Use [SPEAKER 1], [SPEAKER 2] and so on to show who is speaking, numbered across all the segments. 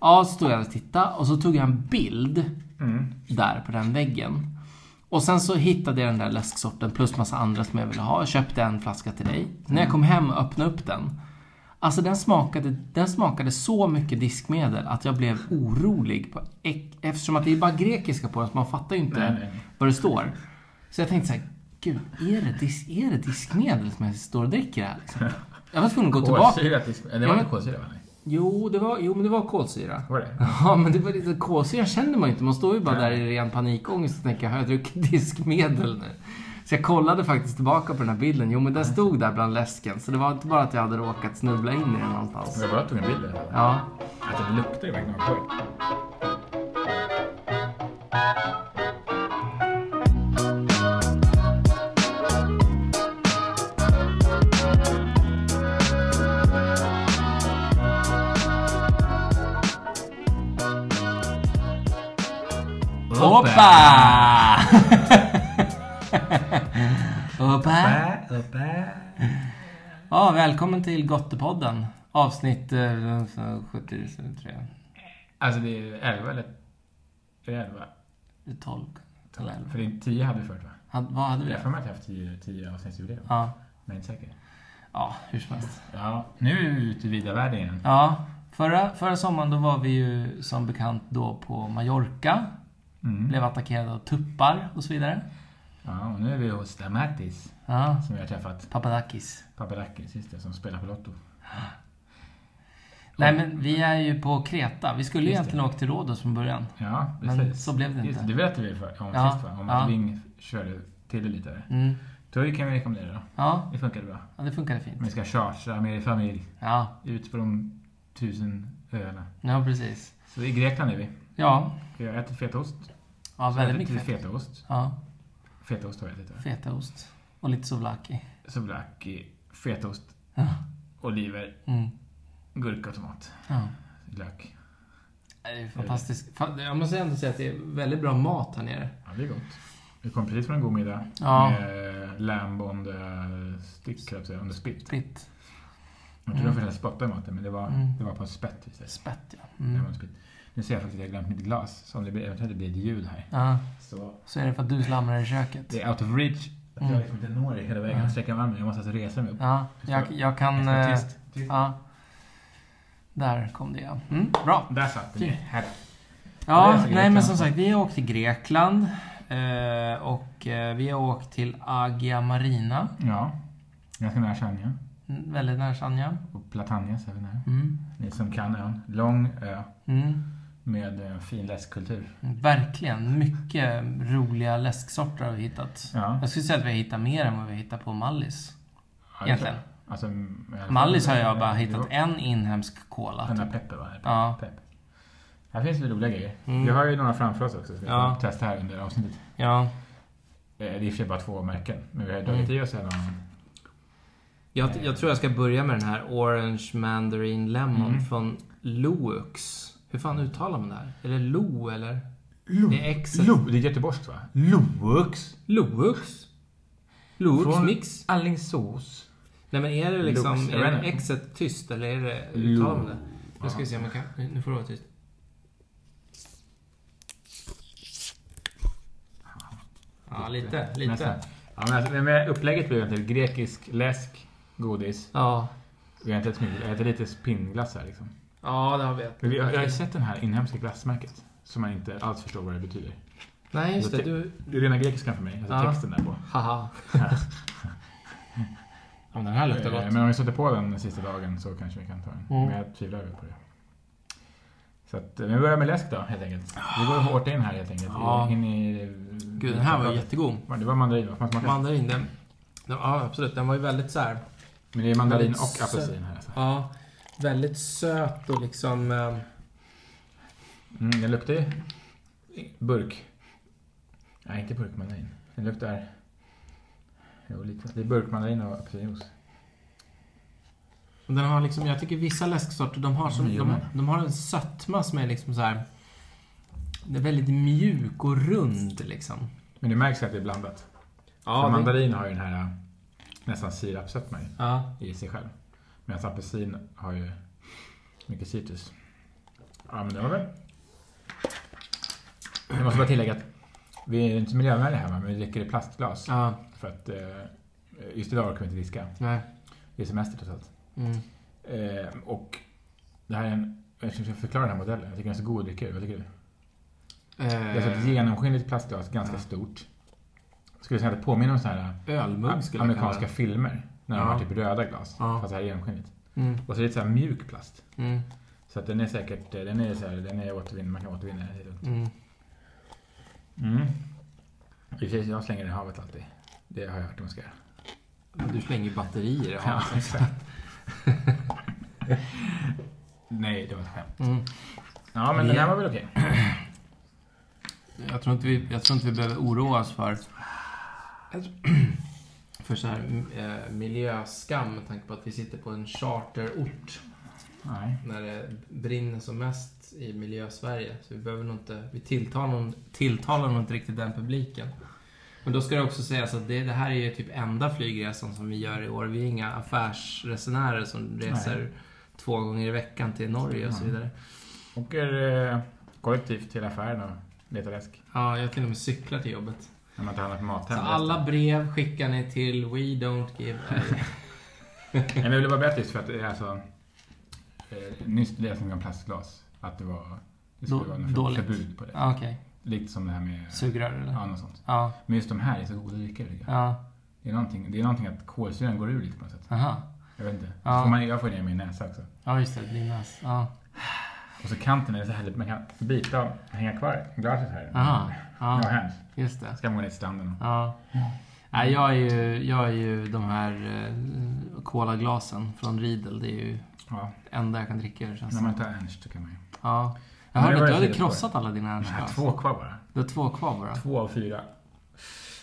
[SPEAKER 1] Ja, så stod jag och tittade och så tog jag en bild
[SPEAKER 2] Mm.
[SPEAKER 1] där på den väggen. Och sen så hittade jag den där läsksorten plus massa andra som jag ville ha. Jag köpte en flaska till dig. När
[SPEAKER 2] Mm.
[SPEAKER 1] jag kom hem och öppnade upp den. Alltså den smakade, den smakade så mycket diskmedel att jag blev orolig. På, ek- eftersom att det är bara grekiska på den så man fattar ju inte
[SPEAKER 2] Nej, nej.
[SPEAKER 1] vad det står. Så jag tänkte så här, gud, är det, dis, är det diskmedel som jag står och dricker här? Liksom? Jag var tvungen att gå tillbaka.
[SPEAKER 2] Kolsyrat disk... Nej, Det var inte kolsyra va? Nej.
[SPEAKER 1] Jo, det var, jo, men det var kolsyra.
[SPEAKER 2] Var det?
[SPEAKER 1] Ja, men det var lite kolsyra kände man ju inte. Man står ju bara där i ren panikångest och tänker, har jag druckit diskmedel nu? Så jag kollade faktiskt tillbaka på den här bilden. Jo, men den stod där bland läsken. Så det var inte bara att jag hade råkat snubbla in i den någonstans.
[SPEAKER 2] Jag bara tog en bild där.
[SPEAKER 1] Ja.
[SPEAKER 2] Att det luktar ju verkligen alkohol.
[SPEAKER 1] Hoppa! Hoppa!
[SPEAKER 2] Bä, uppe.
[SPEAKER 1] Ja, välkommen till Gottepodden. Avsnitt eh, 73.
[SPEAKER 2] Alltså det är 11 eller? Är det 11?
[SPEAKER 1] 12. Eller 11.
[SPEAKER 2] För det är 10 hade vi förut va?
[SPEAKER 1] Had- Vad hade vi?
[SPEAKER 2] Jag har för mig att jag har haft 10, 10 avsnittsjubileum.
[SPEAKER 1] Ja.
[SPEAKER 2] Men inte säker.
[SPEAKER 1] Ja, hur som helst.
[SPEAKER 2] Ja, nu är vi ute i vida världen igen.
[SPEAKER 1] Ja, förra, förra sommaren då var vi ju som bekant då på Mallorca.
[SPEAKER 2] Mm.
[SPEAKER 1] Blev attackerade av tuppar och så vidare.
[SPEAKER 2] Ja, och nu är vi hos Damatis
[SPEAKER 1] Ja,
[SPEAKER 2] som vi har träffat.
[SPEAKER 1] Papadakis.
[SPEAKER 2] Papadakis, just det, som spelar på Lotto.
[SPEAKER 1] Nej men vi är ju på Kreta. Vi skulle ju
[SPEAKER 2] Just det.
[SPEAKER 1] egentligen åkt till Rhodos från början.
[SPEAKER 2] Ja,
[SPEAKER 1] Men
[SPEAKER 2] precis.
[SPEAKER 1] så blev det inte.
[SPEAKER 2] Just det, det berättade vi för, om
[SPEAKER 1] Ja,
[SPEAKER 2] sist va? Om
[SPEAKER 1] ja.
[SPEAKER 2] att Ving körde till det lite. där.
[SPEAKER 1] Mm.
[SPEAKER 2] Då kan vi rekommendera då.
[SPEAKER 1] Ja,
[SPEAKER 2] Det funkade bra.
[SPEAKER 1] ja, det funkade fint.
[SPEAKER 2] Om vi ska chartra med er familj
[SPEAKER 1] Ja,
[SPEAKER 2] ut på de tusen öarna.
[SPEAKER 1] ja precis.
[SPEAKER 2] Så i Grekland är vi.
[SPEAKER 1] Ja,
[SPEAKER 2] Vi har ätit fetaost.
[SPEAKER 1] ja
[SPEAKER 2] Så har
[SPEAKER 1] väldigt
[SPEAKER 2] jag ätit
[SPEAKER 1] mycket feta.
[SPEAKER 2] fetaost.
[SPEAKER 1] Ja,
[SPEAKER 2] Fetaost har jag ätit. va?
[SPEAKER 1] fetaost. Och lite souvlaki.
[SPEAKER 2] Souvlaki, fetaost,
[SPEAKER 1] Ja.
[SPEAKER 2] oliver,
[SPEAKER 1] Mm.
[SPEAKER 2] gurka och tomat.
[SPEAKER 1] ja.
[SPEAKER 2] Lök.
[SPEAKER 1] Det är ju fantastiskt. Fan, Jag måste ändå säga att det är väldigt bra mat här nere.
[SPEAKER 2] Ja, det är gott. Vi kom precis från en god middag
[SPEAKER 1] Ja.
[SPEAKER 2] med lamb on the stick, höll jag på att säga, on the spit.
[SPEAKER 1] Spritt.
[SPEAKER 2] Jag tror de försökte spotta i maten, men det var,
[SPEAKER 1] Mm.
[SPEAKER 2] det var på en spett. visst är det?
[SPEAKER 1] Spett ja.
[SPEAKER 2] Det var
[SPEAKER 1] Mm.
[SPEAKER 2] en spett. Nu ser jag faktiskt att jag har glömt mitt glas, så om det blir, eventuellt det blir ett ljud här.
[SPEAKER 1] Ja,
[SPEAKER 2] Så
[SPEAKER 1] så är det för att du slamrar i köket.
[SPEAKER 2] det är out of reach. Att
[SPEAKER 1] Mm.
[SPEAKER 2] Jag liksom inte når det hela vägen.
[SPEAKER 1] Ja.
[SPEAKER 2] Jag sträcker mig armen, jag måste alltså resa mig upp.
[SPEAKER 1] Ja, jag, jag kan...
[SPEAKER 2] Jag ska
[SPEAKER 1] eh,
[SPEAKER 2] tyst. tyst.
[SPEAKER 1] Ja. Där kom det ja. Mm, bra.
[SPEAKER 2] Där satt den.
[SPEAKER 1] Okej.
[SPEAKER 2] Här. Ja, det är
[SPEAKER 1] Ja,
[SPEAKER 2] så
[SPEAKER 1] nej men
[SPEAKER 2] Grekland.
[SPEAKER 1] som sagt, vi har åkt till Grekland. eh, Och eh, vi har åkt till Agia Marina.
[SPEAKER 2] Ja. Ganska nära Chania.
[SPEAKER 1] Mm, Väldigt nära Sanja.
[SPEAKER 2] Och Platanias är vi nära.
[SPEAKER 1] Mm.
[SPEAKER 2] Ni som kan ön. Lång ö
[SPEAKER 1] Mm.
[SPEAKER 2] med eh, fin läskkultur.
[SPEAKER 1] Verkligen. Mycket roliga läsksorter har vi hittat.
[SPEAKER 2] Ja.
[SPEAKER 1] Jag skulle säga att vi har hittat mer än vad vi har hittat på Mallis.
[SPEAKER 2] Ja, det är
[SPEAKER 1] Egentligen.
[SPEAKER 2] klart. Alltså, i alla fall-
[SPEAKER 1] Mallis har jag bara
[SPEAKER 2] Jo,
[SPEAKER 1] hittat en inhemsk
[SPEAKER 2] Den
[SPEAKER 1] cola. typ.
[SPEAKER 2] där Peppe va?
[SPEAKER 1] Ja.
[SPEAKER 2] Pepp. Här finns det roliga grejer.
[SPEAKER 1] Mm.
[SPEAKER 2] Vi har ju några framför oss också. Så vi får
[SPEAKER 1] Ja.
[SPEAKER 2] testa här under avsnittet. Eh,
[SPEAKER 1] Ja.
[SPEAKER 2] Det är i och för sig bara två märken. Men vi har ju
[SPEAKER 1] Mm.
[SPEAKER 2] dragit i oss en av dem.
[SPEAKER 1] Jag, jag tror jag ska börja med den här Orange Mandarin Lemon
[SPEAKER 2] Mm.
[SPEAKER 1] från Loux. Hur fan uttalar man det här? Är det Lo eller?
[SPEAKER 2] Lo.
[SPEAKER 1] Det är X.
[SPEAKER 2] Lo. Det är göteborgskt va? Loux.
[SPEAKER 1] Loux? Loux
[SPEAKER 2] Från-
[SPEAKER 1] mix?
[SPEAKER 2] Alingsås.
[SPEAKER 1] Nej men är det
[SPEAKER 2] Loux,
[SPEAKER 1] liksom,
[SPEAKER 2] jag
[SPEAKER 1] är
[SPEAKER 2] vet
[SPEAKER 1] det
[SPEAKER 2] inte.
[SPEAKER 1] exet tyst eller är det
[SPEAKER 2] Lo.
[SPEAKER 1] uttalande? Nu ska vi se om jag kan, nu nu får det vara tyst. Ja, lite, lite.
[SPEAKER 2] Nästan. Ja, men alltså, men med upplägget blir egentligen grekisk läsk, godis.
[SPEAKER 1] Ja,
[SPEAKER 2] Vi har inte ätit mycket. Jag äter lite spinnglass här liksom.
[SPEAKER 1] ja det har vi.
[SPEAKER 2] Men vi har, jag har ju sett den här inhemska glassmärket. Som man inte alls förstår vad det betyder.
[SPEAKER 1] Nej, just det. Du...
[SPEAKER 2] Det är rena grekiskan för mig. Alltså
[SPEAKER 1] Ja.
[SPEAKER 2] texten där på.
[SPEAKER 1] Haha. Ja, men den här luktar
[SPEAKER 2] Eh,
[SPEAKER 1] gott.
[SPEAKER 2] Men om vi sätter på den sista dagen så kanske vi kan ta den.
[SPEAKER 1] Mm.
[SPEAKER 2] Men jag tvivlar över på det. Så att, eh, men vi börjar med läsk då helt enkelt. Vi går hårt in här helt enkelt.
[SPEAKER 1] Ja.
[SPEAKER 2] In i,
[SPEAKER 1] Gud, den här var jättegod.
[SPEAKER 2] Ja, Det var mandarin va? Får man smaka?
[SPEAKER 1] Mandarin, den... den ja, absolut. Den var ju väldigt så här...
[SPEAKER 2] men det är mandarin
[SPEAKER 1] Väldigt
[SPEAKER 2] och apelsin här. Alltså.
[SPEAKER 1] Ja, väldigt söt och liksom... Eh,
[SPEAKER 2] Mm, den luktar ju burk. Nej, inte burkmandarin. Den luktar... Jo, lite. Det är burkmandarin och apelsinjuice.
[SPEAKER 1] den har liksom... Jag tycker vissa läsksorter, de har, som, de, de har en sötma som är liksom så här... Den är väldigt mjuk och rund liksom.
[SPEAKER 2] Men det märks att det är blandat.
[SPEAKER 1] Ja,
[SPEAKER 2] För
[SPEAKER 1] det-
[SPEAKER 2] mandarin har ju den här eh, nästan sirapssötman i.
[SPEAKER 1] Ja,
[SPEAKER 2] i sig själv. Medan apelsin har ju mycket citrus. Ja, Ja, men det var väl... Jag måste bara tillägga att vi är inte så miljövänliga här, men vi dricker i plastglas.
[SPEAKER 1] Ja,
[SPEAKER 2] För att eh, just idag orkar vi inte diska.
[SPEAKER 1] nej.
[SPEAKER 2] Det är semester trots allt.
[SPEAKER 1] Mm.
[SPEAKER 2] Eh, och det här är en... Jag ska försöka förklara den här modellen. Jag tycker den är så god att dricka ur. Vad tycker du? Det är alltså ett
[SPEAKER 1] Eh,
[SPEAKER 2] genomskinligt plastglas, ganska
[SPEAKER 1] Ja.
[SPEAKER 2] stort. Jag skulle säga att det påminner om så här
[SPEAKER 1] Eh, ölmugg skulle jag kalla
[SPEAKER 2] amerikanska
[SPEAKER 1] det.
[SPEAKER 2] filmer. När de
[SPEAKER 1] Ja.
[SPEAKER 2] har typ röda glas.
[SPEAKER 1] Ja.
[SPEAKER 2] Fast det här är genomskinligt.
[SPEAKER 1] Mm,
[SPEAKER 2] Och så är det lite så här mjuk plast.
[SPEAKER 1] mm,
[SPEAKER 2] Så att den är säkert, eh, den är så här, den är återvinn, man kan återvinna den. Det är lugnt.
[SPEAKER 1] mm.
[SPEAKER 2] Mm. I och för sig, jag slänger den i havet alltid. Det har jag hört att man ska göra.
[SPEAKER 1] Du slänger ju batterier i
[SPEAKER 2] Ja,
[SPEAKER 1] havet.
[SPEAKER 2] exakt. Nej, det var ett skämt.
[SPEAKER 1] Mm.
[SPEAKER 2] Ja, men den
[SPEAKER 1] Ja.
[SPEAKER 2] här var väl okej.
[SPEAKER 1] Jag, tror inte vi, jag tror inte vi behöver oroa oss för för så här, eh, miljöskam med tanke på att vi sitter på en charterort
[SPEAKER 2] Nej.
[SPEAKER 1] när det brinner som mest i miljösverige. Så vi behöver nog inte, vi tilltalar, någon, tilltalar nog inte riktigt den publiken. Men då ska det också sägas att det, det här är ju typ enda flygresan som vi gör i år. Vi är inga affärsresenärer som reser två gånger i veckan till Norge och så
[SPEAKER 2] Nej.
[SPEAKER 1] vidare.
[SPEAKER 2] Åker eh, kollektivt till affären och letar läsk.
[SPEAKER 1] Ja, jag till och med cyklar till jobbet.
[SPEAKER 2] När man tar hand om
[SPEAKER 1] Så
[SPEAKER 2] maten.
[SPEAKER 1] alla brev skickar ni till We Don't Give a...
[SPEAKER 2] Nej, men jag ville bara berätta just för att det är alltså... Eh, nyss studerade jag om plastglas. Att det var... Det skulle
[SPEAKER 1] Då-
[SPEAKER 2] vara något
[SPEAKER 1] dåligt.
[SPEAKER 2] förbud på det.
[SPEAKER 1] Ja, Okej.
[SPEAKER 2] Lite som det här med...
[SPEAKER 1] Sugrör eller?
[SPEAKER 2] Ja, något sånt.
[SPEAKER 1] Ja.
[SPEAKER 2] Men just de här är så goda att dricka tycker jag.
[SPEAKER 1] Ja.
[SPEAKER 2] Det är, någonting, det är någonting att kolsyran går ur lite på något sätt.
[SPEAKER 1] Aha.
[SPEAKER 2] Jag vet inte.
[SPEAKER 1] Ja.
[SPEAKER 2] Får man, jag får ner min näsa också.
[SPEAKER 1] Ja, just det. Din näs. Ja.
[SPEAKER 2] Och så kanten är så härligt. Man kan bita och hänga kvar glaset här.
[SPEAKER 1] Aha.
[SPEAKER 2] Ja.
[SPEAKER 1] Ja,
[SPEAKER 2] hands.
[SPEAKER 1] just det.
[SPEAKER 2] Ska man gå ner till stranden.
[SPEAKER 1] Ja. Nej, jag är ju, jag är ju de här eh, colaglasen från Riedel. Det är ju
[SPEAKER 2] Ja,
[SPEAKER 1] enda jag kan dricka ur känns
[SPEAKER 2] när
[SPEAKER 1] det
[SPEAKER 2] man tar Ernst så kan man ju.
[SPEAKER 1] Ja. Jag
[SPEAKER 2] Men det
[SPEAKER 1] hörde
[SPEAKER 2] var
[SPEAKER 1] att du
[SPEAKER 2] jag
[SPEAKER 1] hade
[SPEAKER 2] fel på.
[SPEAKER 1] krossat alla dina
[SPEAKER 2] Jag har
[SPEAKER 1] Ernst
[SPEAKER 2] två kvar bara.
[SPEAKER 1] Du har två kvar bara.
[SPEAKER 2] Två av fyra.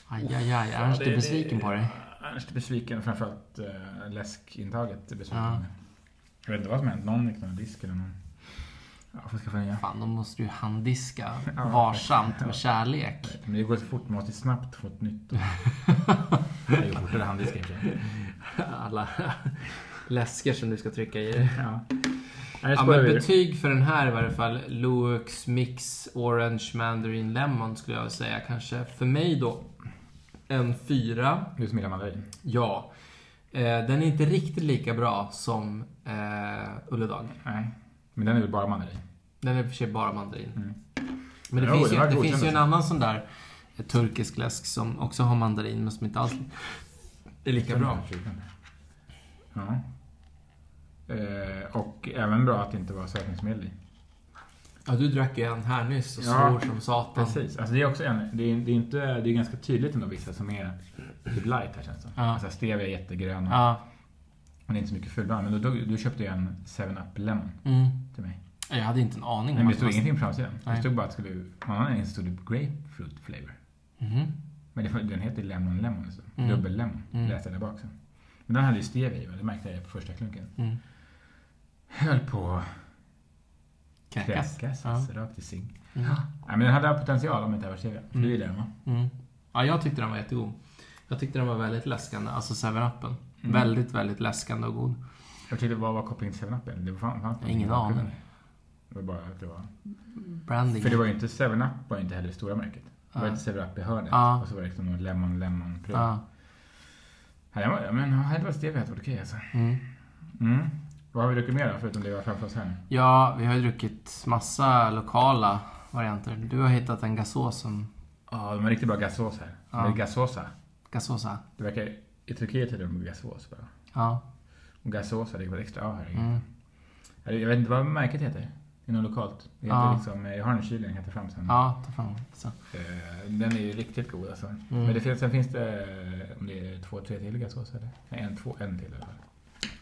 [SPEAKER 1] Aj, aj, aj.
[SPEAKER 2] Ja,
[SPEAKER 1] Ernst
[SPEAKER 2] det-
[SPEAKER 1] är
[SPEAKER 2] det-
[SPEAKER 1] besviken på dig.
[SPEAKER 2] Ernst är besviken och framförallt äh, läskintaget är besviken.
[SPEAKER 1] Ja.
[SPEAKER 2] Jag vet inte vad som hänt. Någon gick någon disk eller någon. Ja, jag får skaffa nya.
[SPEAKER 1] Fan, de måste ju handdiska
[SPEAKER 2] Ja.
[SPEAKER 1] varsamt
[SPEAKER 2] Ja.
[SPEAKER 1] med kärlek.
[SPEAKER 2] Men det går så fort. Man måste snabbt få ett nytt. det går fortare handdiskar i och för sig.
[SPEAKER 1] Alla läsker som du ska trycka i dig.
[SPEAKER 2] Ja. Nej,
[SPEAKER 1] Ja,
[SPEAKER 2] jag
[SPEAKER 1] men
[SPEAKER 2] men
[SPEAKER 1] betyg för den här i varje fall. Luwaks Mix Orange Mandarin Lemon skulle jag säga kanske. För mig då en fyra.
[SPEAKER 2] Du som gillar mandarin.
[SPEAKER 1] Ja. Eh, den är inte riktigt lika bra som eh, Ulledag.
[SPEAKER 2] Nej. Men den är väl bara mandarin?
[SPEAKER 1] Den är i och för sig bara mandarin.
[SPEAKER 2] Mm.
[SPEAKER 1] Men det
[SPEAKER 2] Jo,
[SPEAKER 1] finns, ju,
[SPEAKER 2] den var
[SPEAKER 1] det
[SPEAKER 2] godkänd
[SPEAKER 1] finns ju en
[SPEAKER 2] alltså.
[SPEAKER 1] annan sån där eh, turkisk läsk som också har mandarin men som inte alls är lika bra.
[SPEAKER 2] Mm. Ja. Eh, och även bra att det inte var sötningsmedel i.
[SPEAKER 1] Ja, du drack ju en här nyss och
[SPEAKER 2] Ja,
[SPEAKER 1] svor som satan.
[SPEAKER 2] Precis. Alltså det är också en, det är, det är inte, det är ganska tydligt ändå vissa som är typ light här känns det
[SPEAKER 1] Ja.
[SPEAKER 2] Alltså stevia är jättegrön och
[SPEAKER 1] Ja.
[SPEAKER 2] men det är inte så mycket fulbrand. Men då, då, du köpte ju en 7-Up Lemon
[SPEAKER 1] Mm.
[SPEAKER 2] till mig.
[SPEAKER 1] Jag hade inte en aning
[SPEAKER 2] Nej, men
[SPEAKER 1] om
[SPEAKER 2] det
[SPEAKER 1] det
[SPEAKER 2] stod
[SPEAKER 1] var-
[SPEAKER 2] ingenting på framsidan. Det
[SPEAKER 1] Nej.
[SPEAKER 2] stod bara att det skulle, på någon anledning stod det grapefruit flavor.
[SPEAKER 1] Mhm.
[SPEAKER 2] Men det, den heter Lemon Lemon. Alltså.
[SPEAKER 1] Mm.
[SPEAKER 2] Dubbel Lemon.
[SPEAKER 1] Mm.
[SPEAKER 2] Läste jag där bak sen. Men den hade ju stevia i va? Det märkte jag på första klunken.
[SPEAKER 1] Mm.
[SPEAKER 2] Höll på att
[SPEAKER 1] Kräkas.
[SPEAKER 2] kräkas.
[SPEAKER 1] Ja.
[SPEAKER 2] Alltså, rakt i zink.
[SPEAKER 1] Mm.
[SPEAKER 2] Nej, men den hade all potential om det inte hade varit stevia. För
[SPEAKER 1] Mm.
[SPEAKER 2] Du gillar den va?
[SPEAKER 1] Mm. Ja, jag tyckte den var jättegod. Jag tyckte den var väldigt läskande, alltså 7-Upen.
[SPEAKER 2] Mm.
[SPEAKER 1] Väldigt, väldigt läskande och god.
[SPEAKER 2] Jag tyckte, vad var kopplingen till 7-Up? eller? Det var fan, fan,
[SPEAKER 1] Ingen
[SPEAKER 2] bakom
[SPEAKER 1] aning.
[SPEAKER 2] Det var bara att det var...
[SPEAKER 1] Branding.
[SPEAKER 2] För det var ju inte 7-Up var ju inte heller det stora märket. Det var
[SPEAKER 1] Ja.
[SPEAKER 2] inte 7-Up i hörnet.
[SPEAKER 1] Ja.
[SPEAKER 2] Och så var det liksom någon Lemon Lemon Prune.
[SPEAKER 1] Ja.
[SPEAKER 2] Ja. den var- ja, Men hade det varit stevia hade det varit okej alltså.
[SPEAKER 1] Mm.
[SPEAKER 2] Mm. Vad har vi druckit mer då? Förutom det vi har framför oss här nu.
[SPEAKER 1] Ja, vi har ju druckit massa lokala varianter. Du har hittat en gasås som...
[SPEAKER 2] Ja, de har riktigt bra gasås här.
[SPEAKER 1] Ja.
[SPEAKER 2] Eller gasåsa.
[SPEAKER 1] Gasåsa?
[SPEAKER 2] Det verkar... I Turkiet heter de gasås bara.
[SPEAKER 1] Ja.
[SPEAKER 2] Och gasåsa, det var ett extra A här.
[SPEAKER 1] Mm.
[SPEAKER 2] Eller, Jag vet inte vad märket heter. Det är något lokalt. Det heter
[SPEAKER 1] Ja.
[SPEAKER 2] liksom, jag har den i kylen, jag kan ta fram sen.
[SPEAKER 1] Ja, ta fram så.
[SPEAKER 2] Eh, Den är ju riktigt god alltså.
[SPEAKER 1] Mm.
[SPEAKER 2] Men det finns, sen finns det, eh, om det är två, tre till gasås eller? Nej, en, två, en till i alla fall.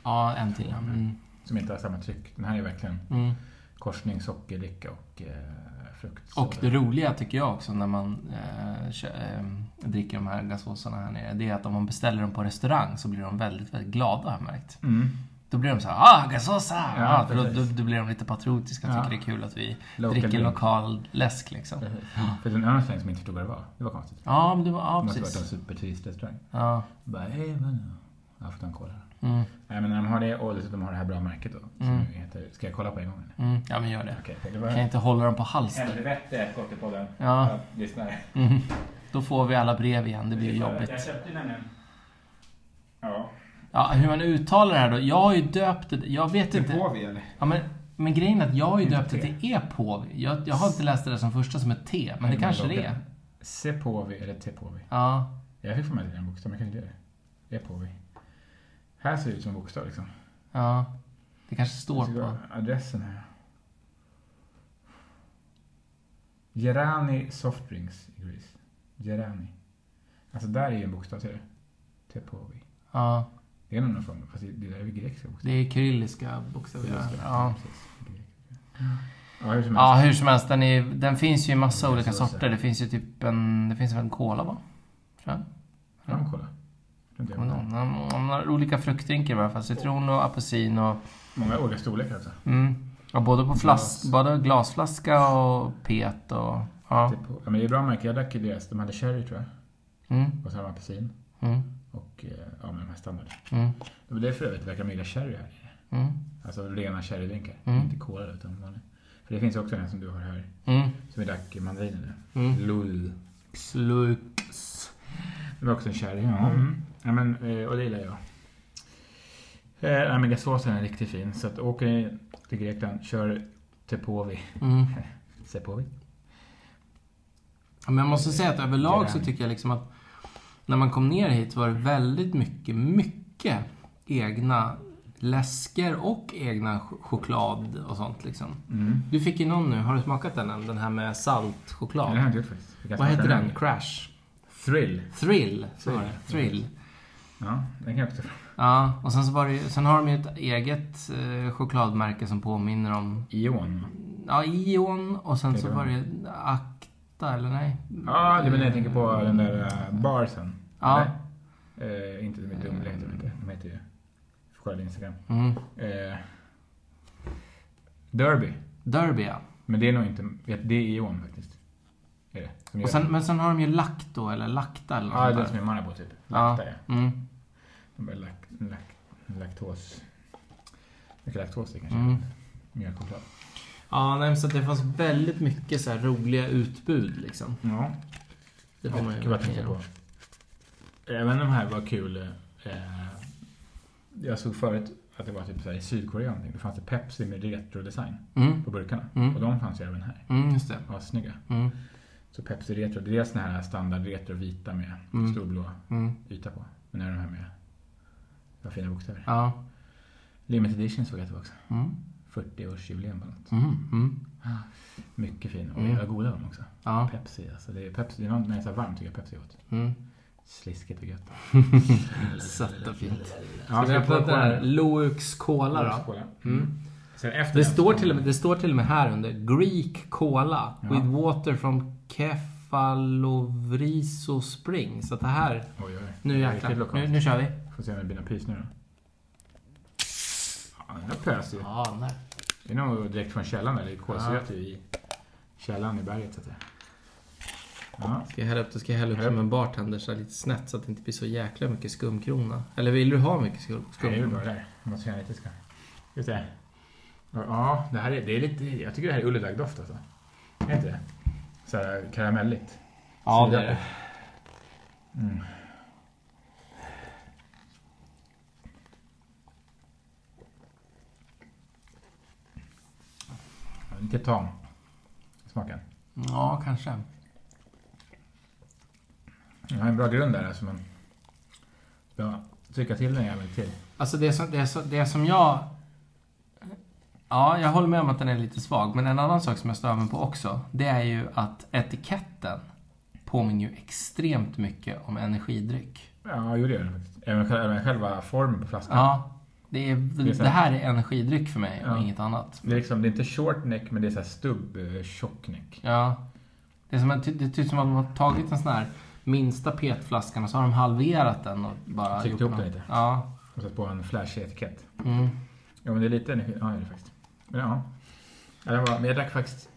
[SPEAKER 1] Ja, en till. ja. Mm.
[SPEAKER 2] Som inte har samma tryck. Den här är verkligen
[SPEAKER 1] Mm.
[SPEAKER 2] korsning, sockerdricka och eh, frukt.
[SPEAKER 1] Och
[SPEAKER 2] Så-
[SPEAKER 1] det roliga tycker jag också när man eh, kö- eh, dricker de här gasåsarna här nere, det är att om man beställer dem på restaurang så blir de väldigt, väldigt glada har jag märkt.
[SPEAKER 2] Mm.
[SPEAKER 1] Då blir de så här, ah, gasåsa! Ja,
[SPEAKER 2] Ja,
[SPEAKER 1] för då, då,
[SPEAKER 2] precis.
[SPEAKER 1] då blir de lite patriotiska och
[SPEAKER 2] Ja.
[SPEAKER 1] tycker det är kul att vi
[SPEAKER 2] Local
[SPEAKER 1] dricker
[SPEAKER 2] drink.
[SPEAKER 1] lokal läsk liksom.
[SPEAKER 2] Precis. För det är en annan släng som jag inte förstod vad det var. Det var konstigt.
[SPEAKER 1] Ja, men det var, ja
[SPEAKER 2] det måste ha varit en
[SPEAKER 1] precis.
[SPEAKER 2] superturist restaurang.
[SPEAKER 1] Ja,
[SPEAKER 2] Bara, hej, men... Jag får ta en cola.
[SPEAKER 1] Mm.
[SPEAKER 2] Nej, men när de har det och dessutom har det här bra märket då. Som
[SPEAKER 1] Mm.
[SPEAKER 2] heter, ska jag kolla på en gång? eller?
[SPEAKER 1] Mm. Ja, men gör det.
[SPEAKER 2] Okej, det
[SPEAKER 1] Kan jag
[SPEAKER 2] var...
[SPEAKER 1] inte hålla dem på halster.
[SPEAKER 2] Helvete, Kottepodden.
[SPEAKER 1] Ja.
[SPEAKER 2] Jag lyssnar.
[SPEAKER 1] Mm. Då får vi alla brev igen. Det blir ju jobbigt.
[SPEAKER 2] Jag köpte nämligen... Ja.
[SPEAKER 1] Ja, hur man uttalar det här då? Jag har ju döpt det. Jag vet
[SPEAKER 2] Till
[SPEAKER 1] inte.
[SPEAKER 2] Påvi eller?
[SPEAKER 1] Ja, men, men grejen är att jag har ju
[SPEAKER 2] Inte
[SPEAKER 1] döpt det
[SPEAKER 2] te.
[SPEAKER 1] till E-påv. Jag, jag har inte läst det där som första som ett T, men det
[SPEAKER 2] Nej,
[SPEAKER 1] kanske
[SPEAKER 2] men
[SPEAKER 1] det är.
[SPEAKER 2] Sepovi eller Tepovi.
[SPEAKER 1] Ja.
[SPEAKER 2] Jag fick få med det en bokstav, men jag kunde inte göra det. Epovi. Här ser det ut som en bokstav liksom.
[SPEAKER 1] Ja. Det kanske står
[SPEAKER 2] Jag ska
[SPEAKER 1] på.
[SPEAKER 2] gå Adressen här. Gerani Soft Drinks i Grease. Gerani. Alltså där är ju en bokstav till det. Tepovi.
[SPEAKER 1] Ja.
[SPEAKER 2] Det är nog någon form, fast det det där är ju grekiska
[SPEAKER 1] Det
[SPEAKER 2] bokstäver.
[SPEAKER 1] är kyrilliska bokstäver. Ja.
[SPEAKER 2] precis. Ja, hur som
[SPEAKER 1] ja,
[SPEAKER 2] helst.
[SPEAKER 1] hur som helst. Den, är, den finns ju i massa olika sorter. Det finns ju typ en... Det finns väl en kola, va? Tror jag.
[SPEAKER 2] Ja, men kolla. Det är inte
[SPEAKER 1] Kommer du ihåg? Han han har olika fruktdrinkar i varje fall. Citron och apelsin och...
[SPEAKER 2] Många olika storlekar alltså. också.
[SPEAKER 1] Mm. Ja, både på flask,
[SPEAKER 2] Glas.
[SPEAKER 1] både glasflaska och pet och... Ja.
[SPEAKER 2] Typ, ja, men det är bra märken. Jag drack ju deras. De hade cherry tror jag.
[SPEAKER 1] Mm,
[SPEAKER 2] Och så hade de apelsin.
[SPEAKER 1] mm,
[SPEAKER 2] Och eh, ja, men de här standard.
[SPEAKER 1] mm,
[SPEAKER 2] Det var det för övrigt. Det verkar de gilla cherry här.
[SPEAKER 1] mm,
[SPEAKER 2] Alltså rena cherrydrinkar.
[SPEAKER 1] Mm.
[SPEAKER 2] Inte cola utan vanlig. För det finns ju också en som du har här.
[SPEAKER 1] mm,
[SPEAKER 2] Som vi drack i mandrinen nu.
[SPEAKER 1] mm.
[SPEAKER 2] Lul.
[SPEAKER 1] Slux.
[SPEAKER 2] Det var också en cherry. Ja. Mm. ja men, eh, och det gillar jag. Eh, nej, men gasåsen är riktigt fin. Så att, åker ni till Grekland, kör Tepovi.
[SPEAKER 1] Mm.
[SPEAKER 2] Sepovi.
[SPEAKER 1] Ja, Men jag måste säga att överlag så tycker jag liksom att när man kom ner hit var det väldigt mycket, mycket egna läsker och egna ch- choklad och sånt liksom.
[SPEAKER 2] Mm.
[SPEAKER 1] Du fick ju någon nu, har du smakat den än? Den här med
[SPEAKER 2] Ja. Det har jag
[SPEAKER 1] saltchoklad.
[SPEAKER 2] inte gjort faktiskt. Vi kan
[SPEAKER 1] Vad
[SPEAKER 2] smaka
[SPEAKER 1] heter den? Crash?
[SPEAKER 2] Thrill.
[SPEAKER 1] Thrill, så var det.
[SPEAKER 2] Thrill.
[SPEAKER 1] Thrill.
[SPEAKER 2] Ja, den kan jag också
[SPEAKER 1] Ja, och sen så var det ju, sen har de ju ett eget eh, chokladmärke som påminner om
[SPEAKER 2] Ion.
[SPEAKER 1] Ja, Ion och sen så
[SPEAKER 2] Är det
[SPEAKER 1] var det Akta eller nej?
[SPEAKER 2] Ja, det menar jag tänker på den där eh, barsen.
[SPEAKER 1] Ja.
[SPEAKER 2] Eller? Eh, inte de är Dumle heter de inte. De heter ju... Får kolla din Instagram.
[SPEAKER 1] Mm.
[SPEAKER 2] Eh, Derby.
[SPEAKER 1] Derby ja.
[SPEAKER 2] Men det är nog inte... vet- Det är Ion faktiskt. Är det. Som gör
[SPEAKER 1] Och sen, men sen har de ju Lacto eller Lacta
[SPEAKER 2] det.
[SPEAKER 1] eller
[SPEAKER 2] Ja,
[SPEAKER 1] något
[SPEAKER 2] det är
[SPEAKER 1] sånt
[SPEAKER 2] som
[SPEAKER 1] där.
[SPEAKER 2] är Marabou typ.
[SPEAKER 1] Ja.
[SPEAKER 2] Lakta ja.
[SPEAKER 1] Mm.
[SPEAKER 2] De bara lak, lak, laktos... Mycket laktos det kanske.
[SPEAKER 1] Mm.
[SPEAKER 2] Mjölkchoklad.
[SPEAKER 1] Ja, nej, men så att det fanns väldigt mycket så här roliga utbud liksom.
[SPEAKER 2] Ja.
[SPEAKER 1] Det får man ju
[SPEAKER 2] Gud, vad jag tänker
[SPEAKER 1] verkligen
[SPEAKER 2] på. Även de här var kul. eh, Jag såg förut att det var typ så här i Sydkorea någonting. Det fanns det Pepsi med retrodesign
[SPEAKER 1] Mm.
[SPEAKER 2] på burkarna.
[SPEAKER 1] Mm.
[SPEAKER 2] Och de fanns ju även här.
[SPEAKER 1] Mm, just det.
[SPEAKER 2] Ja, snygga.
[SPEAKER 1] Mm.
[SPEAKER 2] Så Pepsi retro, det är såna här standard retro vita med
[SPEAKER 1] Mm.
[SPEAKER 2] stor blå
[SPEAKER 1] Mm.
[SPEAKER 2] yta på. Men nu är de här med vad fina bokstäver.
[SPEAKER 1] Ja.
[SPEAKER 2] Limited edition såg jag att det var också.
[SPEAKER 1] Mm.
[SPEAKER 2] 40-årsjubileum eller något.
[SPEAKER 1] Mm. Mm.
[SPEAKER 2] Mycket fin. Och
[SPEAKER 1] Mm.
[SPEAKER 2] jävla goda de också.
[SPEAKER 1] Ja.
[SPEAKER 2] Pepsi alltså. Det är, Pepsi, det är något när det är så här varmt tycker jag Pepsi är gott.
[SPEAKER 1] Mm.
[SPEAKER 2] Sliskigt och gött.
[SPEAKER 1] Sött och fint.
[SPEAKER 2] Ja,
[SPEAKER 1] Ska vi öppna den där Loux Cola då?
[SPEAKER 2] Skåla.
[SPEAKER 1] Mm.
[SPEAKER 2] Sen efter
[SPEAKER 1] Det
[SPEAKER 2] den
[SPEAKER 1] står,
[SPEAKER 2] så-
[SPEAKER 1] till och med, det står till och med här under. Greek Cola
[SPEAKER 2] Ja.
[SPEAKER 1] with water from Kefalovriso Spring. Så att det här...
[SPEAKER 2] Oj, oj.
[SPEAKER 1] Nu
[SPEAKER 2] Riktigt
[SPEAKER 1] jäklar.
[SPEAKER 2] lokalt.
[SPEAKER 1] Nu, nu kör vi.
[SPEAKER 2] Får se om det blir någon pys nu då. Ja, den där pös ju.
[SPEAKER 1] Ja, den där.
[SPEAKER 2] Det är nog direkt från källan där. Det är kolsyrat ju i källan i berget så att säga. Ja.
[SPEAKER 1] Ska jag hälla upp det? Ska jag hälla upp
[SPEAKER 2] Häll upp.
[SPEAKER 1] som en bartender så här lite snett så att det inte blir så jäkla mycket skumkrona? Eller vill du ha mycket skum,
[SPEAKER 2] Det är ju
[SPEAKER 1] skumkrona?
[SPEAKER 2] bra där. Jag måste känna lite ska. Ska vi se. Ja, det här är, det är lite... Jag tycker det här är Ulledag-doft alltså. Är inte det? Så här karamelligt.
[SPEAKER 1] Ja, det är det.
[SPEAKER 2] Mm. Ja, Lite tam smaken.
[SPEAKER 1] Ja, kanske.
[SPEAKER 2] Den har en bra grund där alltså man ska trycka till den jävligt till.
[SPEAKER 1] Alltså det som, det, som, det som jag... Ja, jag håller med om att den är lite svag. Men en annan sak som jag stör mig på också. Det är ju att etiketten påminner ju extremt mycket om energidryck.
[SPEAKER 2] Ja, jo det gör den faktiskt. Även, själva- även själva formen på flaskan.
[SPEAKER 1] Ja, det, är,
[SPEAKER 2] är så
[SPEAKER 1] det
[SPEAKER 2] här.
[SPEAKER 1] här är energidryck för mig
[SPEAKER 2] Ja.
[SPEAKER 1] och inget annat.
[SPEAKER 2] Det, är liksom, det är inte short neck men det är så här stubb eh, tjock neck.
[SPEAKER 1] Ja. Det är som att, det ser ut som att de har tagit en sån här minsta petflaskan och så har de halverat den och bara...
[SPEAKER 2] Tryckt
[SPEAKER 1] gjort
[SPEAKER 2] ihop den
[SPEAKER 1] någon-
[SPEAKER 2] lite.
[SPEAKER 1] Ja.
[SPEAKER 2] Och satt på en flashig etikett.
[SPEAKER 1] Mm.
[SPEAKER 2] Ja, men det är lite energi. Ja, det är det faktiskt. Men ja. ja den var, men jag drack faktiskt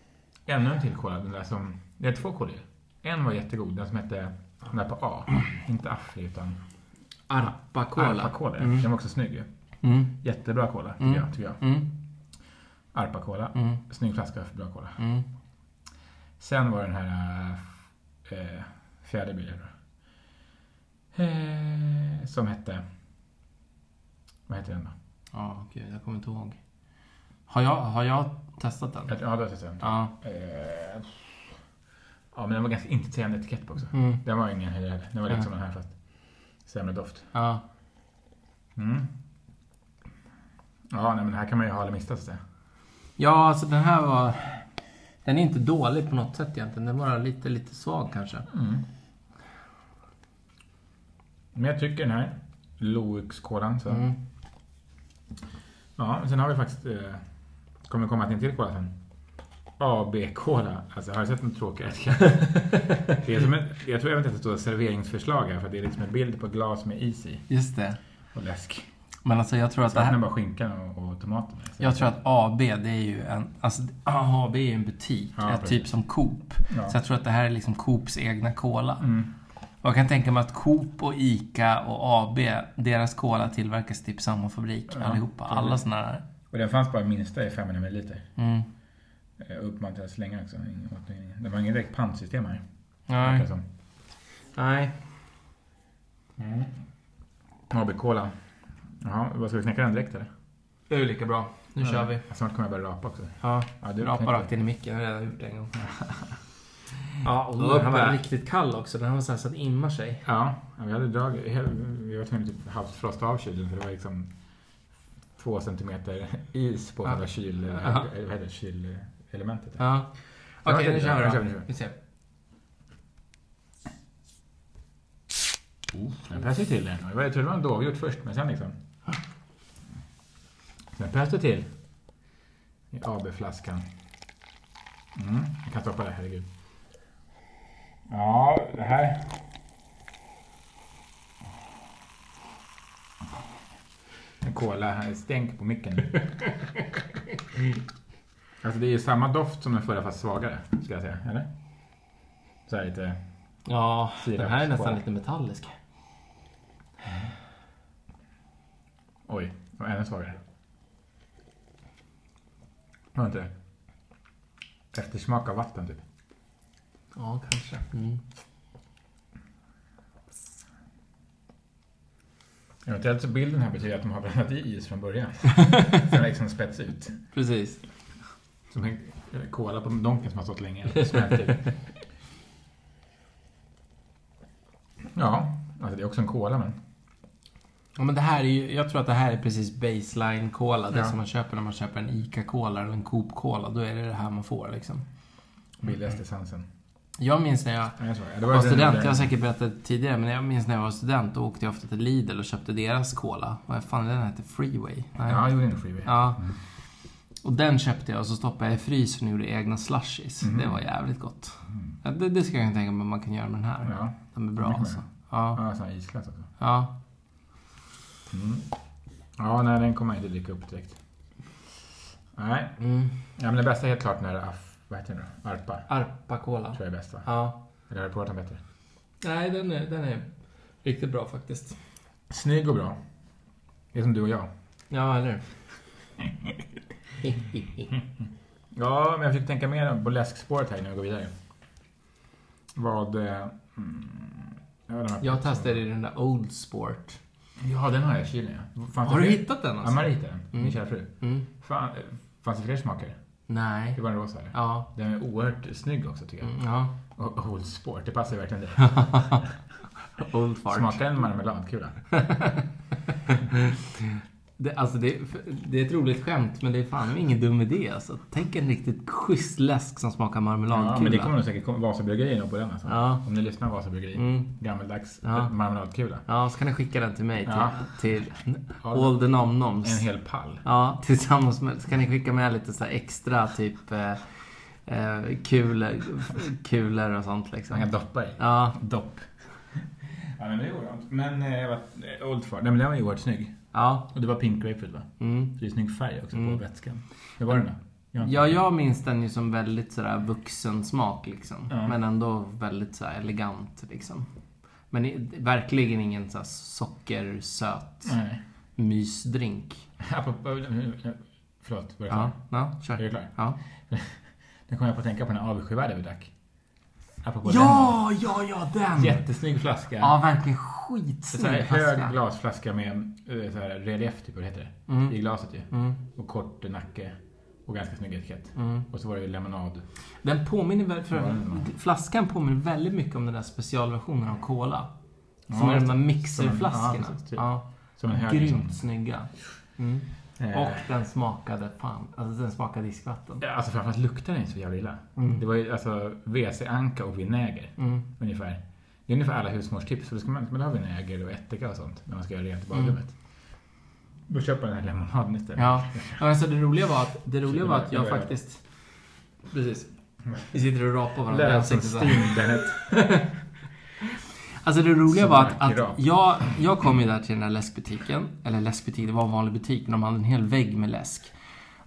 [SPEAKER 2] ännu en till cola. Den där som... Det är två color. En var jättegod. Den som hette... Den där på A. Inte Afri, utan...
[SPEAKER 1] Arpa cola.
[SPEAKER 2] Arpa-cola.
[SPEAKER 1] Mm.
[SPEAKER 2] Den var också snygg ju.
[SPEAKER 1] Mm.
[SPEAKER 2] Jättebra cola, tycker
[SPEAKER 1] Mm.
[SPEAKER 2] jag. Tycker jag.
[SPEAKER 1] Mm.
[SPEAKER 2] Arpa-cola.
[SPEAKER 1] Mm.
[SPEAKER 2] Snygg flaska för bra cola.
[SPEAKER 1] Mm.
[SPEAKER 2] Sen var den här eh, fjärde bilen då. Eh, som hette... Vad hette den då?
[SPEAKER 1] Ja, gud, jag kommer inte ihåg. Har jag, har jag testat den?
[SPEAKER 2] Ja, det var den.
[SPEAKER 1] Ja.
[SPEAKER 2] Eh, ja, men den var ganska intetsägande etikett på också.
[SPEAKER 1] Mm.
[SPEAKER 2] Den var ingen höjdare heller. Den var lite som den här fast sämre doft.
[SPEAKER 1] Ja.
[SPEAKER 2] Mm. Ja, nej, men här kan man ju ha eller mista så att säga.
[SPEAKER 1] Ja, alltså den här var... Den är inte dålig på något sätt egentligen. Den var lite, lite svag kanske.
[SPEAKER 2] Mm. Men jag tycker den här Loux-kolan. Så.
[SPEAKER 1] Mm.
[SPEAKER 2] Ja, men sen har vi faktiskt... Eh, kommer komma till en till kola sen. AB-kola. Alltså har du sett något tråkigare? det är som en, jag tror även att det står serveringsförslag här för det är liksom en bild på ett glas med is i
[SPEAKER 1] Just det.
[SPEAKER 2] och läsk.
[SPEAKER 1] Men alltså jag tror att
[SPEAKER 2] Så
[SPEAKER 1] det
[SPEAKER 2] öppnar
[SPEAKER 1] här...
[SPEAKER 2] bara skinkan och, och tomaterna. Så-
[SPEAKER 1] Jag tror att AB, det är ju en... Alltså AB är ju en butik.
[SPEAKER 2] Ja,
[SPEAKER 1] ett
[SPEAKER 2] precis.
[SPEAKER 1] typ som Coop.
[SPEAKER 2] Ja.
[SPEAKER 1] Så jag tror att det här är liksom Coops egna cola.
[SPEAKER 2] Mm.
[SPEAKER 1] Och jag kan tänka mig att Coop och ICA och AB, deras cola tillverkas typ samma fabrik
[SPEAKER 2] Ja,
[SPEAKER 1] allihopa.
[SPEAKER 2] troligen.
[SPEAKER 1] Alla såna här.
[SPEAKER 2] Och den fanns bara minsta i 500 ml.
[SPEAKER 1] Mm.
[SPEAKER 2] Uppmantrad att slänga också. Ingen återvinning. Det var inget direkt pantsystem här. verkar det
[SPEAKER 1] Nej.
[SPEAKER 2] som.
[SPEAKER 1] Nej. Mm.
[SPEAKER 2] AB Cola. Jaha, vad ska vi knäcka den direkt eller?
[SPEAKER 1] Det är ju lika bra. Nu kör vi.
[SPEAKER 2] Snart kommer jag börja rapa också.
[SPEAKER 1] Ja.
[SPEAKER 2] Ja,
[SPEAKER 1] Du rapar rakt in i micken, jag har redan gjort det en gång. ja, och
[SPEAKER 2] Uppe.
[SPEAKER 1] den här var riktigt kall också. Den här var så, här så att imma sig.
[SPEAKER 2] Ja, ja, vi hade drag. Vi var tvungna att typ halvt frosta av kylen för det var liksom två centimeter is på
[SPEAKER 1] Ja.
[SPEAKER 2] själva kyl...
[SPEAKER 1] Ja.
[SPEAKER 2] eller Vad heter det? Kylelementet.
[SPEAKER 1] Ja.
[SPEAKER 2] Ja,
[SPEAKER 1] Okej,
[SPEAKER 2] det-
[SPEAKER 1] nu kör vi
[SPEAKER 2] nu
[SPEAKER 1] då.
[SPEAKER 2] kör vi, nu kör vi.
[SPEAKER 1] Vi ser.
[SPEAKER 2] Den pös ju till den. Det var- Jag tror det var en dovhjort först, men sen liksom... Sen pös det till. I AB-flaskan. Mm, jag kan stoppa det, herregud. Ja, det här... En cola, här är stänk på micken. Alltså det är ju samma doft som den förra fast svagare, ska jag säga. Eller? Så här lite...
[SPEAKER 1] Ja, den här är nästan
[SPEAKER 2] Sirapscola.
[SPEAKER 1] lite metallisk.
[SPEAKER 2] Oj, det var ännu svagare. Var det inte det? Eftersmak av vatten typ.
[SPEAKER 1] Ja, kanske. Mm.
[SPEAKER 2] Eventuellt så bilden här betyder att de har blandat i is från början. Sen har liksom spätts ut.
[SPEAKER 1] Precis.
[SPEAKER 2] Som en kola på donken som typ- har stått länge och smält ut. Ja, alltså det är också en kola men.
[SPEAKER 1] Ja, men det här är ju, jag tror att det här är precis baseline cola. Det
[SPEAKER 2] Ja.
[SPEAKER 1] som man köper när man köper en ICA-cola eller en Coop-cola. Då är det det här man får liksom.
[SPEAKER 2] Billigaste essensen.
[SPEAKER 1] Jag minns när jag
[SPEAKER 2] Nej, jag svarar. Det
[SPEAKER 1] var
[SPEAKER 2] den-
[SPEAKER 1] student,
[SPEAKER 2] den-
[SPEAKER 1] jag Mm. har säkert berättat tidigare, men jag minns när jag var student. Då åkte jag ofta till Lidl och köpte deras cola. Vad fan den hette? Freeway? Nej.
[SPEAKER 2] Ja, jag gjorde en freebie.
[SPEAKER 1] Ja.
[SPEAKER 2] Mm.
[SPEAKER 1] Och den köpte jag och så stoppade jag i frysen och gjorde egna slushies.
[SPEAKER 2] Mhm.
[SPEAKER 1] Det var jävligt gott.
[SPEAKER 2] Mm.
[SPEAKER 1] Ja, det, det ska jag kunna tänka mig man kan göra med den här.
[SPEAKER 2] Ja,
[SPEAKER 1] Den är
[SPEAKER 2] Det
[SPEAKER 1] bra
[SPEAKER 2] kan
[SPEAKER 1] alltså.
[SPEAKER 2] man
[SPEAKER 1] Ja.
[SPEAKER 2] ja sån här isglass också.
[SPEAKER 1] ja.
[SPEAKER 2] Mm. Ja, nej den kommer jag inte dyka upp direkt. Nej,
[SPEAKER 1] Mm.
[SPEAKER 2] Ja, men det bästa är helt klart när Af, vad heter den då? Arpa.
[SPEAKER 1] Arpa cola.
[SPEAKER 2] Tror jag är bäst va?
[SPEAKER 1] Ja.
[SPEAKER 2] Eller har du provat den bättre?
[SPEAKER 1] Nej, den är, den är riktigt bra faktiskt.
[SPEAKER 2] Snygg och bra. Det är som du och jag.
[SPEAKER 1] Ja, eller
[SPEAKER 2] Ja, men jag försöker tänka mer på läskspåret här innan vi går vidare. Vad... eh, Mm, jag vet inte om
[SPEAKER 1] Jag testade ju den där Old Sport.
[SPEAKER 2] Ja, den har jag i kylen ja. Fanns
[SPEAKER 1] Har
[SPEAKER 2] det
[SPEAKER 1] du
[SPEAKER 2] fler-
[SPEAKER 1] hittat den
[SPEAKER 2] Ja,
[SPEAKER 1] alltså?
[SPEAKER 2] Marie hittade den. Min
[SPEAKER 1] Mm.
[SPEAKER 2] kära fru.
[SPEAKER 1] Mm.
[SPEAKER 2] Fan, eh, fanns det fler smaker?
[SPEAKER 1] Nej.
[SPEAKER 2] Det var en rosa eller?
[SPEAKER 1] Ja.
[SPEAKER 2] Den är oerhört snygg också tycker jag.
[SPEAKER 1] Mm, ja.
[SPEAKER 2] Och och Old Sport, det passar ju verkligen dig.
[SPEAKER 1] Old Fart.
[SPEAKER 2] Smakar en marmeladkula?
[SPEAKER 1] Det, alltså det, det är ett roligt skämt, men det är fan ingen dum idé. Alltså. Tänk en riktigt schysst läsk som smakar marmeladkula.
[SPEAKER 2] Ja, men det kommer nog säkert komma- Vasabryggeriet nog på den alltså.
[SPEAKER 1] Ja.
[SPEAKER 2] Om ni lyssnar Vasabryggeriet.
[SPEAKER 1] Mm.
[SPEAKER 2] Gammeldags
[SPEAKER 1] Ja.
[SPEAKER 2] marmeladkula.
[SPEAKER 1] ja, så kan ni skicka den till mig. Till,
[SPEAKER 2] Ja.
[SPEAKER 1] till
[SPEAKER 2] Ja,
[SPEAKER 1] All the
[SPEAKER 2] en
[SPEAKER 1] Nomnoms.
[SPEAKER 2] hel pall.
[SPEAKER 1] Ja, tillsammans med... Så kan ni skicka med lite så här extra typ eh, eh, kulor, kulor och sånt
[SPEAKER 2] Man kan
[SPEAKER 1] liksom.
[SPEAKER 2] doppa i.
[SPEAKER 1] Ja,
[SPEAKER 2] Dopp. Ja, men det gjorde jag inte. Men eh, jag var, eh, Old Far. Nej, men den var ju oerhört snygg.
[SPEAKER 1] ja.
[SPEAKER 2] Och det var pink grapefruit va?
[SPEAKER 1] Mm.
[SPEAKER 2] Så det är snygg färg också
[SPEAKER 1] Mm.
[SPEAKER 2] på vätskan. Hur var den då? Jag har inte-
[SPEAKER 1] Ja, jag minns den ju som väldigt sådär vuxen smak liksom.
[SPEAKER 2] Ja.
[SPEAKER 1] Men ändå väldigt såhär elegant liksom. Men i- verkligen ingen så här sockersöt
[SPEAKER 2] Nej.
[SPEAKER 1] mysdrink.
[SPEAKER 2] Apropå, eh, förlåt, var det
[SPEAKER 1] Ja,
[SPEAKER 2] klar?
[SPEAKER 1] ja,
[SPEAKER 2] Är du
[SPEAKER 1] kör.
[SPEAKER 2] klar?
[SPEAKER 1] Ja,
[SPEAKER 2] Nu kommer jag på att tänka på den avskyvärda vi drack. Apropå
[SPEAKER 1] ja, ja, ja
[SPEAKER 2] den.
[SPEAKER 1] den!
[SPEAKER 2] Jättesnygg flaska.
[SPEAKER 1] Ja, verkligen
[SPEAKER 2] så här,
[SPEAKER 1] skitsnygg
[SPEAKER 2] hög
[SPEAKER 1] flaska.
[SPEAKER 2] glasflaska med eh, så här, relief, typ, vad heter det?
[SPEAKER 1] Mm.
[SPEAKER 2] I glaset ju.
[SPEAKER 1] Mm,
[SPEAKER 2] Och kort nacke. Och ganska snygg etikett.
[SPEAKER 1] mm.
[SPEAKER 2] Och så var det ju lemonad.
[SPEAKER 1] Den påminner väl,
[SPEAKER 2] Ja,
[SPEAKER 1] för,
[SPEAKER 2] den
[SPEAKER 1] flaskan påminner väldigt mycket om den där specialversionen av Cola. Som är de
[SPEAKER 2] Ja,
[SPEAKER 1] där
[SPEAKER 2] just Som en- ja,
[SPEAKER 1] mixerflaskorna.
[SPEAKER 2] precis, typ.
[SPEAKER 1] Ja,
[SPEAKER 2] Som en hög liksom.
[SPEAKER 1] grymt snygga. Mm.
[SPEAKER 2] Eh,
[SPEAKER 1] Och den smakade fan, alltså den smakade diskvatten.
[SPEAKER 2] ja, Alltså framförallt luktade den så jävla illa.
[SPEAKER 1] Mm.
[SPEAKER 2] Det var ju alltså WC-anka och vinäger
[SPEAKER 1] Mm.
[SPEAKER 2] ungefär. Det är ungefär alla husmorstips. För då ska man, man ha vinäger och ättika och sånt när man ska göra rent i badrummet. Då köper man den här lemonaden istället.
[SPEAKER 1] Mm. Ja, men alltså det roliga var att, det roliga var att
[SPEAKER 2] Det var- Mm.
[SPEAKER 1] jag
[SPEAKER 2] det var-
[SPEAKER 1] faktiskt... Precis. Vi sitter och rapar varandra i
[SPEAKER 2] Lät som
[SPEAKER 1] ansiktet så här.
[SPEAKER 2] Sting Bennett.
[SPEAKER 1] Alltså det roliga var att,
[SPEAKER 2] Smakrap.
[SPEAKER 1] att jag, jag kom ju där till den här läskbutiken. Eller läskbutik, det var en vanlig butik men de hade en hel vägg med läsk.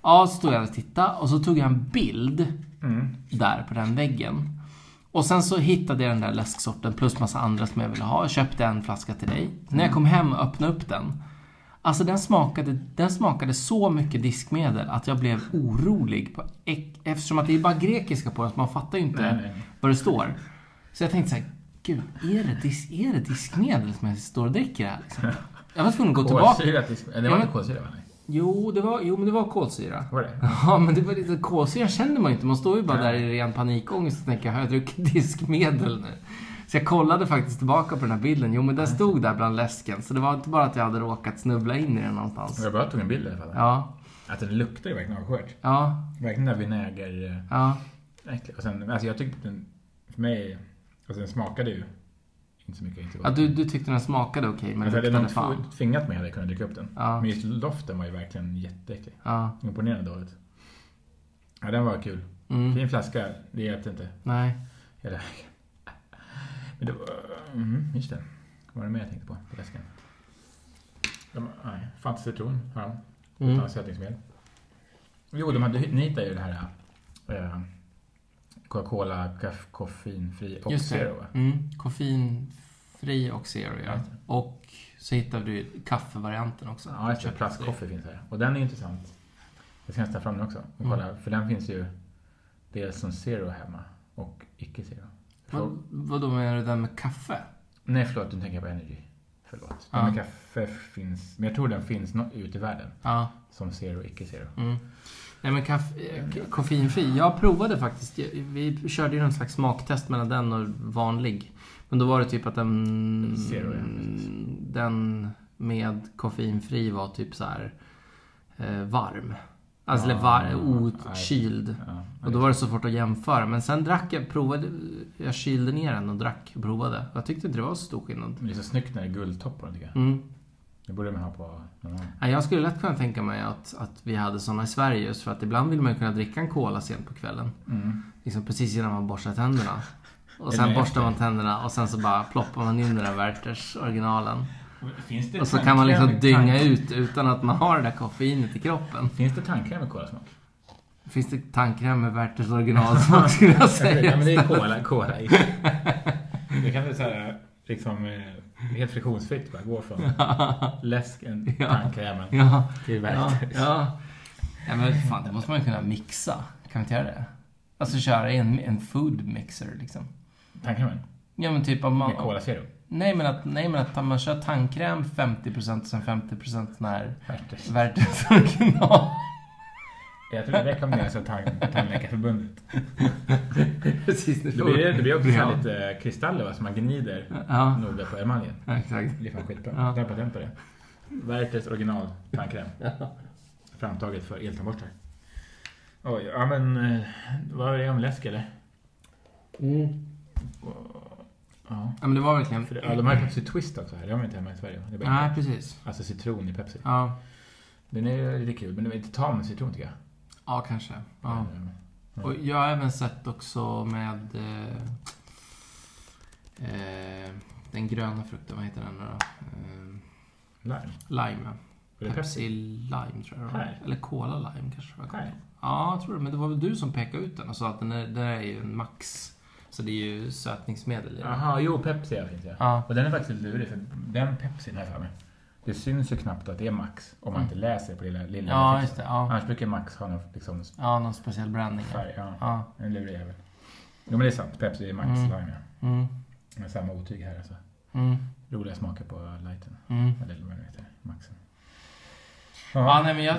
[SPEAKER 1] Ja, så stod jag och tittade och så tog jag en bild
[SPEAKER 2] Mm.
[SPEAKER 1] där på den väggen. Och sen så hittade jag den där läsksorten plus massa andra som jag ville ha. Jag köpte en flaska till dig. När
[SPEAKER 2] Mm.
[SPEAKER 1] jag kom hem och öppnade upp den. Alltså den smakade, den smakade så mycket diskmedel att jag blev orolig. På, ek- eftersom att det är bara grekiska på den så man fattar ju inte
[SPEAKER 2] Nej, nej.
[SPEAKER 1] vad det står. Så jag tänkte så här, gud, är det, dis, är det diskmedel som jag står och dricker här? Liksom? Jag var tvungen att gå tillbaka.
[SPEAKER 2] Kolsyrat disk... Nej, Det
[SPEAKER 1] Ja,
[SPEAKER 2] var
[SPEAKER 1] men-
[SPEAKER 2] inte kolsyra va? Nej.
[SPEAKER 1] Jo, det var, jo, men det var kolsyra.
[SPEAKER 2] Var det?
[SPEAKER 1] Ja, men det var lite kolsyra känner man ju inte. Man står ju bara
[SPEAKER 2] Nej.
[SPEAKER 1] där i ren panikångest och tänker, har jag druckit diskmedel nu? Så jag kollade faktiskt tillbaka på den här bilden. Jo, men den stod där bland läsken. Så det var inte bara att jag hade råkat snubbla in i den någonstans.
[SPEAKER 2] Jag bara tog en bild i alla fall.
[SPEAKER 1] Ja,
[SPEAKER 2] Att den luktar ju verkligen avskyvärt.
[SPEAKER 1] ja,
[SPEAKER 2] Verkligen den där vinäger... eh,
[SPEAKER 1] ja.
[SPEAKER 2] äcklig. Och sen, alltså jag tyckte den... För mig... Alltså den smakade ju inte så mycket. Inte
[SPEAKER 1] ja
[SPEAKER 2] gott.
[SPEAKER 1] du, du tyckte den smakade okej, men
[SPEAKER 2] alltså
[SPEAKER 1] det
[SPEAKER 2] hade
[SPEAKER 1] luktade
[SPEAKER 2] någon
[SPEAKER 1] fan.
[SPEAKER 2] tv- tvingat mig hade jag kunnat dricka upp den.
[SPEAKER 1] Ja.
[SPEAKER 2] Men just doften var ju verkligen jätteäcklig.
[SPEAKER 1] Ja,
[SPEAKER 2] Imponerande dåligt. Ja, den var kul.
[SPEAKER 1] mm,
[SPEAKER 2] Fin flaska. Det hjälpte inte.
[SPEAKER 1] nej.
[SPEAKER 2] Eller... Men det var... Mm, just det. Vad var det mer jag tänkte på? på läsken? De, nej, Fanns citron har de.
[SPEAKER 1] Mm.
[SPEAKER 2] Utan sötningsmedel. Jo, de hade nitar ju det här eh, Coca-Cola kaff- koffeinfri och
[SPEAKER 1] Just det.
[SPEAKER 2] zero. va?
[SPEAKER 1] Mm, koffeinfri och zero, ja.
[SPEAKER 2] Ja.
[SPEAKER 1] Och så hittade du kaffevarianten också.
[SPEAKER 2] Ja, just det. Plastkoffe finns här. Och den är ju intressant. Jag ska nästan ta fram den också. Och kolla,
[SPEAKER 1] Mm.
[SPEAKER 2] För den finns ju dels som zero hemma och icke zero.
[SPEAKER 1] Vad, vadå menar du den med kaffe?
[SPEAKER 2] Nej, förlåt. Nu tänker jag på energy. Förlåt. Den
[SPEAKER 1] Ja.
[SPEAKER 2] med kaffe finns... Men jag tror den finns nå- ute i världen.
[SPEAKER 1] Ja.
[SPEAKER 2] Som zero, icke zero.
[SPEAKER 1] Mm. Nej men kaff- eh, k- koffeinfri. Jag provade faktiskt. Vi körde ju någon slags smaktest mellan den och vanlig. Men då var det typ att den...
[SPEAKER 2] Zero, ja, precis.
[SPEAKER 1] Den med koffeinfri var typ så här eh, varm. Alltså
[SPEAKER 2] Ah,
[SPEAKER 1] eller var-
[SPEAKER 2] nej.
[SPEAKER 1] okyld.
[SPEAKER 2] Ja,
[SPEAKER 1] Och då var det så svårt att jämföra. Men sen drack jag, provade, jag kylde ner den och drack och provade. Jag tyckte inte det var så stor skillnad.
[SPEAKER 2] Men det är så snyggt när det är guldtopp på den tycker jag.
[SPEAKER 1] Mm.
[SPEAKER 2] Det borde man ha på någon annan.
[SPEAKER 1] Ja, Jag skulle lätt kunna tänka mig att, att vi hade såna i Sverige just för att ibland vill man ju kunna dricka en cola sent på kvällen.
[SPEAKER 2] Mm.
[SPEAKER 1] Liksom precis innan man borstar tänderna. Och
[SPEAKER 2] Eller
[SPEAKER 1] sen
[SPEAKER 2] efter.
[SPEAKER 1] borstar man tänderna och sen så bara ploppar man in den där Werthers originalen.
[SPEAKER 2] Finns det
[SPEAKER 1] Och så kan man liksom
[SPEAKER 2] tandkräm-
[SPEAKER 1] dynga
[SPEAKER 2] tand-
[SPEAKER 1] ut utan att man har det där koffeinet i kroppen.
[SPEAKER 2] Finns det tandkräm med kolasmak?
[SPEAKER 1] Finns det tandkräm med Werthers originalsmak skulle jag
[SPEAKER 2] Ja,
[SPEAKER 1] säga.
[SPEAKER 2] men det är kola, kola i. Det kan du säga liksom eh, helt friktionsfritt bara gå från läsken,
[SPEAKER 1] Ja.
[SPEAKER 2] tandkrämen
[SPEAKER 1] Ja,
[SPEAKER 2] till
[SPEAKER 1] ja,
[SPEAKER 2] verktyg.
[SPEAKER 1] ja. ja men fan, det måste man ju kunna mixa. Kan vi inte göra det? Alltså köra i en, en food mixer liksom.
[SPEAKER 2] Tandkrämen?
[SPEAKER 1] Ja men typ om man...
[SPEAKER 2] Med Cola Zero?
[SPEAKER 1] Nej men att, nej, men att man kör tandkräm 50% och sen 50% sån här
[SPEAKER 2] Värters.
[SPEAKER 1] Werthers original.
[SPEAKER 2] Jag tror det rekommenderas av tand, Tandläkarförbundet.
[SPEAKER 1] Precis, nu
[SPEAKER 2] Det blir, det blir också så här
[SPEAKER 1] Ja.
[SPEAKER 2] lite eh, kristaller va, som man gnider
[SPEAKER 1] Ja,
[SPEAKER 2] noga på emaljen.
[SPEAKER 1] ja, exakt.
[SPEAKER 2] Det blir fan skitbra.
[SPEAKER 1] Ja.
[SPEAKER 2] Jag tar patent på det. Werthers original tandkräm. Framtaget för eltandborstar. Oj, ja men eh, vad var det om läsk eller?
[SPEAKER 1] Mm.
[SPEAKER 2] Ja.
[SPEAKER 1] Ja men det var verkligen...
[SPEAKER 2] För det, ja, de har ju Pepsi Twist också här. Det har man inte hemma i Sverige. Det är bara
[SPEAKER 1] Nej
[SPEAKER 2] inte-
[SPEAKER 1] precis.
[SPEAKER 2] Alltså citron i Pepsi.
[SPEAKER 1] Ja,
[SPEAKER 2] Den är lite kul, men den är inte tam med citron tycker jag.
[SPEAKER 1] ja kanske. Ja.
[SPEAKER 2] Men, eh,
[SPEAKER 1] Och jag har även sett också med... Eh, eh, den gröna frukten, vad heter den nu då? Eh,
[SPEAKER 2] Lime.
[SPEAKER 1] lime ja.
[SPEAKER 2] Var det
[SPEAKER 1] Pepsi Lime tror jag det var.
[SPEAKER 2] Nej.
[SPEAKER 1] Eller Cola Lime kanske det var.
[SPEAKER 2] Nej.
[SPEAKER 1] Ja, jag tror det. Men det var väl du som pekade ut den och sa att den är, den är ju en max Så det är ju sötningsmedel i den.
[SPEAKER 2] Jaha, jo Pepsi ja, finns ja.
[SPEAKER 1] Ja.
[SPEAKER 2] Och den är faktiskt lite lurig för den Pepsin har jag för mig. Det syns ju knappt att det är Max om man inte läser på lilla, lilla
[SPEAKER 1] Mm. Ja,
[SPEAKER 2] texten.
[SPEAKER 1] just det. Ja.
[SPEAKER 2] Annars brukar Max ha någon liksom,
[SPEAKER 1] ja, någon speciell brandning. ja.
[SPEAKER 2] färg. Ja,
[SPEAKER 1] Ja.
[SPEAKER 2] en lurig jävel. Jo men det är sant. Pepsi är Max
[SPEAKER 1] Mm.
[SPEAKER 2] Lime ja.
[SPEAKER 1] Mm.
[SPEAKER 2] Med samma otyg här alltså.
[SPEAKER 1] Mm.
[SPEAKER 2] Roliga smaker på lighten.
[SPEAKER 1] Mm.
[SPEAKER 2] Eller vad det heter. Maxen.
[SPEAKER 1] Ja, nej, men jag,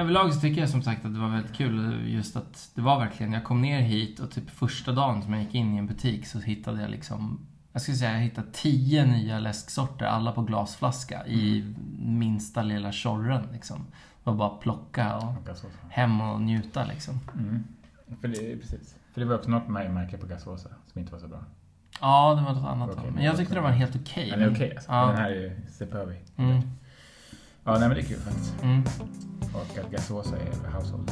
[SPEAKER 1] överlag så tycker jag som sagt att det var väldigt kul just att det var verkligen, jag kom ner hit och typ första dagen som jag gick in i en butik så hittade jag liksom, jag skulle säga jag hittade tio nya läsksorter, alla på glasflaska i minsta lilla tjorren liksom. Det var bara att plocka och
[SPEAKER 2] Gasåsa.
[SPEAKER 1] hem och njuta liksom.
[SPEAKER 2] Mm. För, det, precis. För det var också något med märke på gasåsa som inte var så
[SPEAKER 1] Mm.
[SPEAKER 2] bra.
[SPEAKER 1] Ja, det var något annat då.
[SPEAKER 2] Okej,
[SPEAKER 1] Men jag tyckte det var helt okej.
[SPEAKER 2] Men det är okej alltså.
[SPEAKER 1] Ja.
[SPEAKER 2] Den här är ju superb.
[SPEAKER 1] Mm,
[SPEAKER 2] Ja, nej men det är kul faktiskt.
[SPEAKER 1] mm.
[SPEAKER 2] Och att gasåsa är household.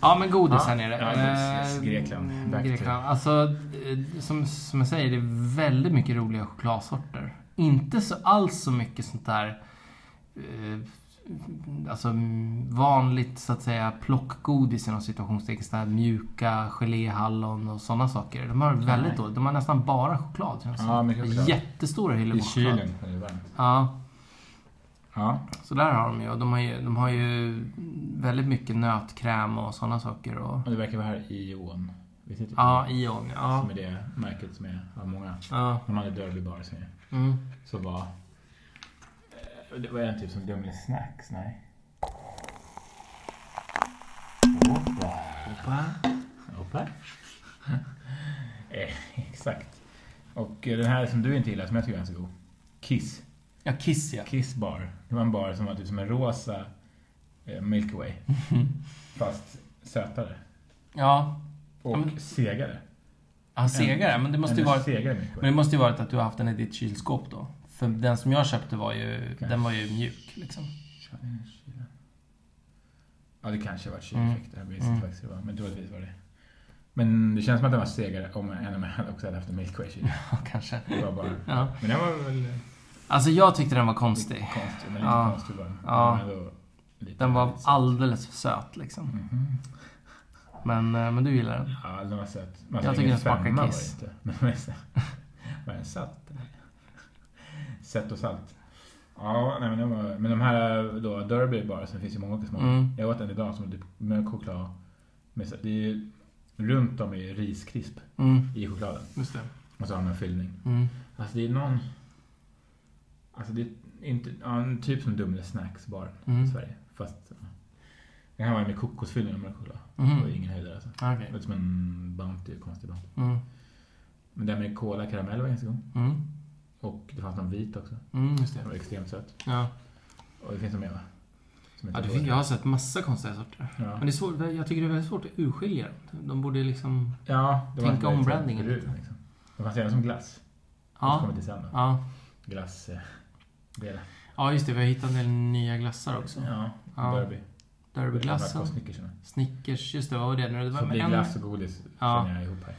[SPEAKER 1] Ja men godis
[SPEAKER 2] Ja.
[SPEAKER 1] här nere.
[SPEAKER 2] Ja, yes, yes. Grekland.
[SPEAKER 1] Eh,
[SPEAKER 2] Back to-
[SPEAKER 1] Grekland. Alltså, eh, som, som jag säger, det är väldigt mycket roliga chokladsorter. Inte så alls så mycket sånt där eh, Alltså mm, vanligt så att säga plockgodis inom situationstecken. Sådana här mjuka geléhallon och sådana saker. De har väldigt
[SPEAKER 2] Nej.
[SPEAKER 1] dåligt. De har nästan bara choklad känns det
[SPEAKER 2] Ja,
[SPEAKER 1] som.
[SPEAKER 2] mycket choklad.
[SPEAKER 1] Jättestora hyllor
[SPEAKER 2] I
[SPEAKER 1] med choklad.
[SPEAKER 2] kylen är det varmt.
[SPEAKER 1] Ja,
[SPEAKER 2] Ja.
[SPEAKER 1] så där har de ju. Och De har ju, de har ju väldigt mycket nötkräm och sådana saker. Och,
[SPEAKER 2] Och det verkar vara här i Ån. Visst heter det
[SPEAKER 1] ja, Ion. Ja.
[SPEAKER 2] Som är det märket som är av många.
[SPEAKER 1] Ja.
[SPEAKER 2] De hade Derby Bar som är-
[SPEAKER 1] Mm.
[SPEAKER 2] så var... eh, Det var en typ som Dumle Snacks, nej? Hoppa. Hoppa. Hoppa. eh, exakt. Och eh, den här som du inte gillar, som jag tycker är ganska god. Kiss.
[SPEAKER 1] Ja, Kiss ja.
[SPEAKER 2] Kiss bar. Det var en bar som var typ som en rosa eh, Milky Way. Fast sötare.
[SPEAKER 1] Ja,
[SPEAKER 2] Och
[SPEAKER 1] Ja, men-
[SPEAKER 2] segare.
[SPEAKER 1] han segare. Men det måste ju
[SPEAKER 2] Ännu
[SPEAKER 1] varit,
[SPEAKER 2] segare Milky
[SPEAKER 1] men
[SPEAKER 2] Way.
[SPEAKER 1] det måste ju varit att du har haft den i ditt kylskåp då. För den som jag köpte var ju,
[SPEAKER 2] Okej.
[SPEAKER 1] den var ju mjuk liksom.
[SPEAKER 2] Ja, det kanske var kyleffekter. Jag minns
[SPEAKER 1] Mm.
[SPEAKER 2] inte faktiskt hur det var. Men troligtvis var det. Men det känns som att den var segare om en av mig hade också hade haft en Milky Way kyl.
[SPEAKER 1] Ja, kanske.
[SPEAKER 2] Det var bara...
[SPEAKER 1] Ja.
[SPEAKER 2] Men den var väl
[SPEAKER 1] Alltså jag tyckte den var
[SPEAKER 2] lite
[SPEAKER 1] konstig.
[SPEAKER 2] konstig. Men lite
[SPEAKER 1] Ja.
[SPEAKER 2] konstig var den.
[SPEAKER 1] Ja.
[SPEAKER 2] Men ändå lite-
[SPEAKER 1] Den var
[SPEAKER 2] lite söt.
[SPEAKER 1] alldeles för söt liksom.
[SPEAKER 2] Mhm.
[SPEAKER 1] Men, eh, men du gillar den.
[SPEAKER 2] Ja, den var söt. Man
[SPEAKER 1] Jag
[SPEAKER 2] fick
[SPEAKER 1] tycker
[SPEAKER 2] ingen
[SPEAKER 1] den smakar
[SPEAKER 2] femma var det
[SPEAKER 1] kiss.
[SPEAKER 2] inte. Men den var söt. Var den satt? Sött och salt. Ja, nej, men, de var, men de här då, Derby bara, sen finns ju många olika smaker.
[SPEAKER 1] Mm.
[SPEAKER 2] Jag åt en idag som är typ mörk choklad. Med, sö- det är ju, runt om är ju riskrisp
[SPEAKER 1] Mm.
[SPEAKER 2] i chokladen.
[SPEAKER 1] Just det.
[SPEAKER 2] Och så har man en fyllning.
[SPEAKER 1] Mm.
[SPEAKER 2] Alltså det är någon... Alltså det är inte, ja, en typ som Dumle Snacks bar i
[SPEAKER 1] Mm.
[SPEAKER 2] Sverige. Fast ja. den här var med kokosfyllning och mörk choklad. Det var
[SPEAKER 1] Mm.
[SPEAKER 2] ingen höjdare alltså.
[SPEAKER 1] Okej.
[SPEAKER 2] Det var som en Bounty, konstig Bounty.
[SPEAKER 1] Mm.
[SPEAKER 2] Men den med cola karamell var ganska god.
[SPEAKER 1] Mm.
[SPEAKER 2] Och det fanns någon vit också.
[SPEAKER 1] Mm, just
[SPEAKER 2] Den
[SPEAKER 1] det.
[SPEAKER 2] var extremt söt.
[SPEAKER 1] Ja.
[SPEAKER 2] Och det finns en mer va? Som
[SPEAKER 1] Ja,
[SPEAKER 2] heter
[SPEAKER 1] det finns, jag har sett massa konstiga sorter.
[SPEAKER 2] Ja.
[SPEAKER 1] Men det är svårt, jag tycker det är väldigt svårt att urskilja dem. De borde liksom...
[SPEAKER 2] ja, det
[SPEAKER 1] Tänk
[SPEAKER 2] inte
[SPEAKER 1] om
[SPEAKER 2] väldigt
[SPEAKER 1] brandingen
[SPEAKER 2] brun,
[SPEAKER 1] lite.
[SPEAKER 2] Liksom. Det fanns även som glass. Det
[SPEAKER 1] Ja.
[SPEAKER 2] kommer till sen då.
[SPEAKER 1] Ja.
[SPEAKER 2] Glass... Eh, delar.
[SPEAKER 1] ja, just det. Vi har hittat en del nya glassar också.
[SPEAKER 2] Ja,
[SPEAKER 1] Ja.
[SPEAKER 2] Derby.
[SPEAKER 1] Derbyglassen.
[SPEAKER 2] Och Snickersarna.
[SPEAKER 1] Snickers, just det. Vad var det nu? Det var
[SPEAKER 2] Så det blir
[SPEAKER 1] en,
[SPEAKER 2] glass och godis
[SPEAKER 1] Ja.
[SPEAKER 2] känner jag ihop här.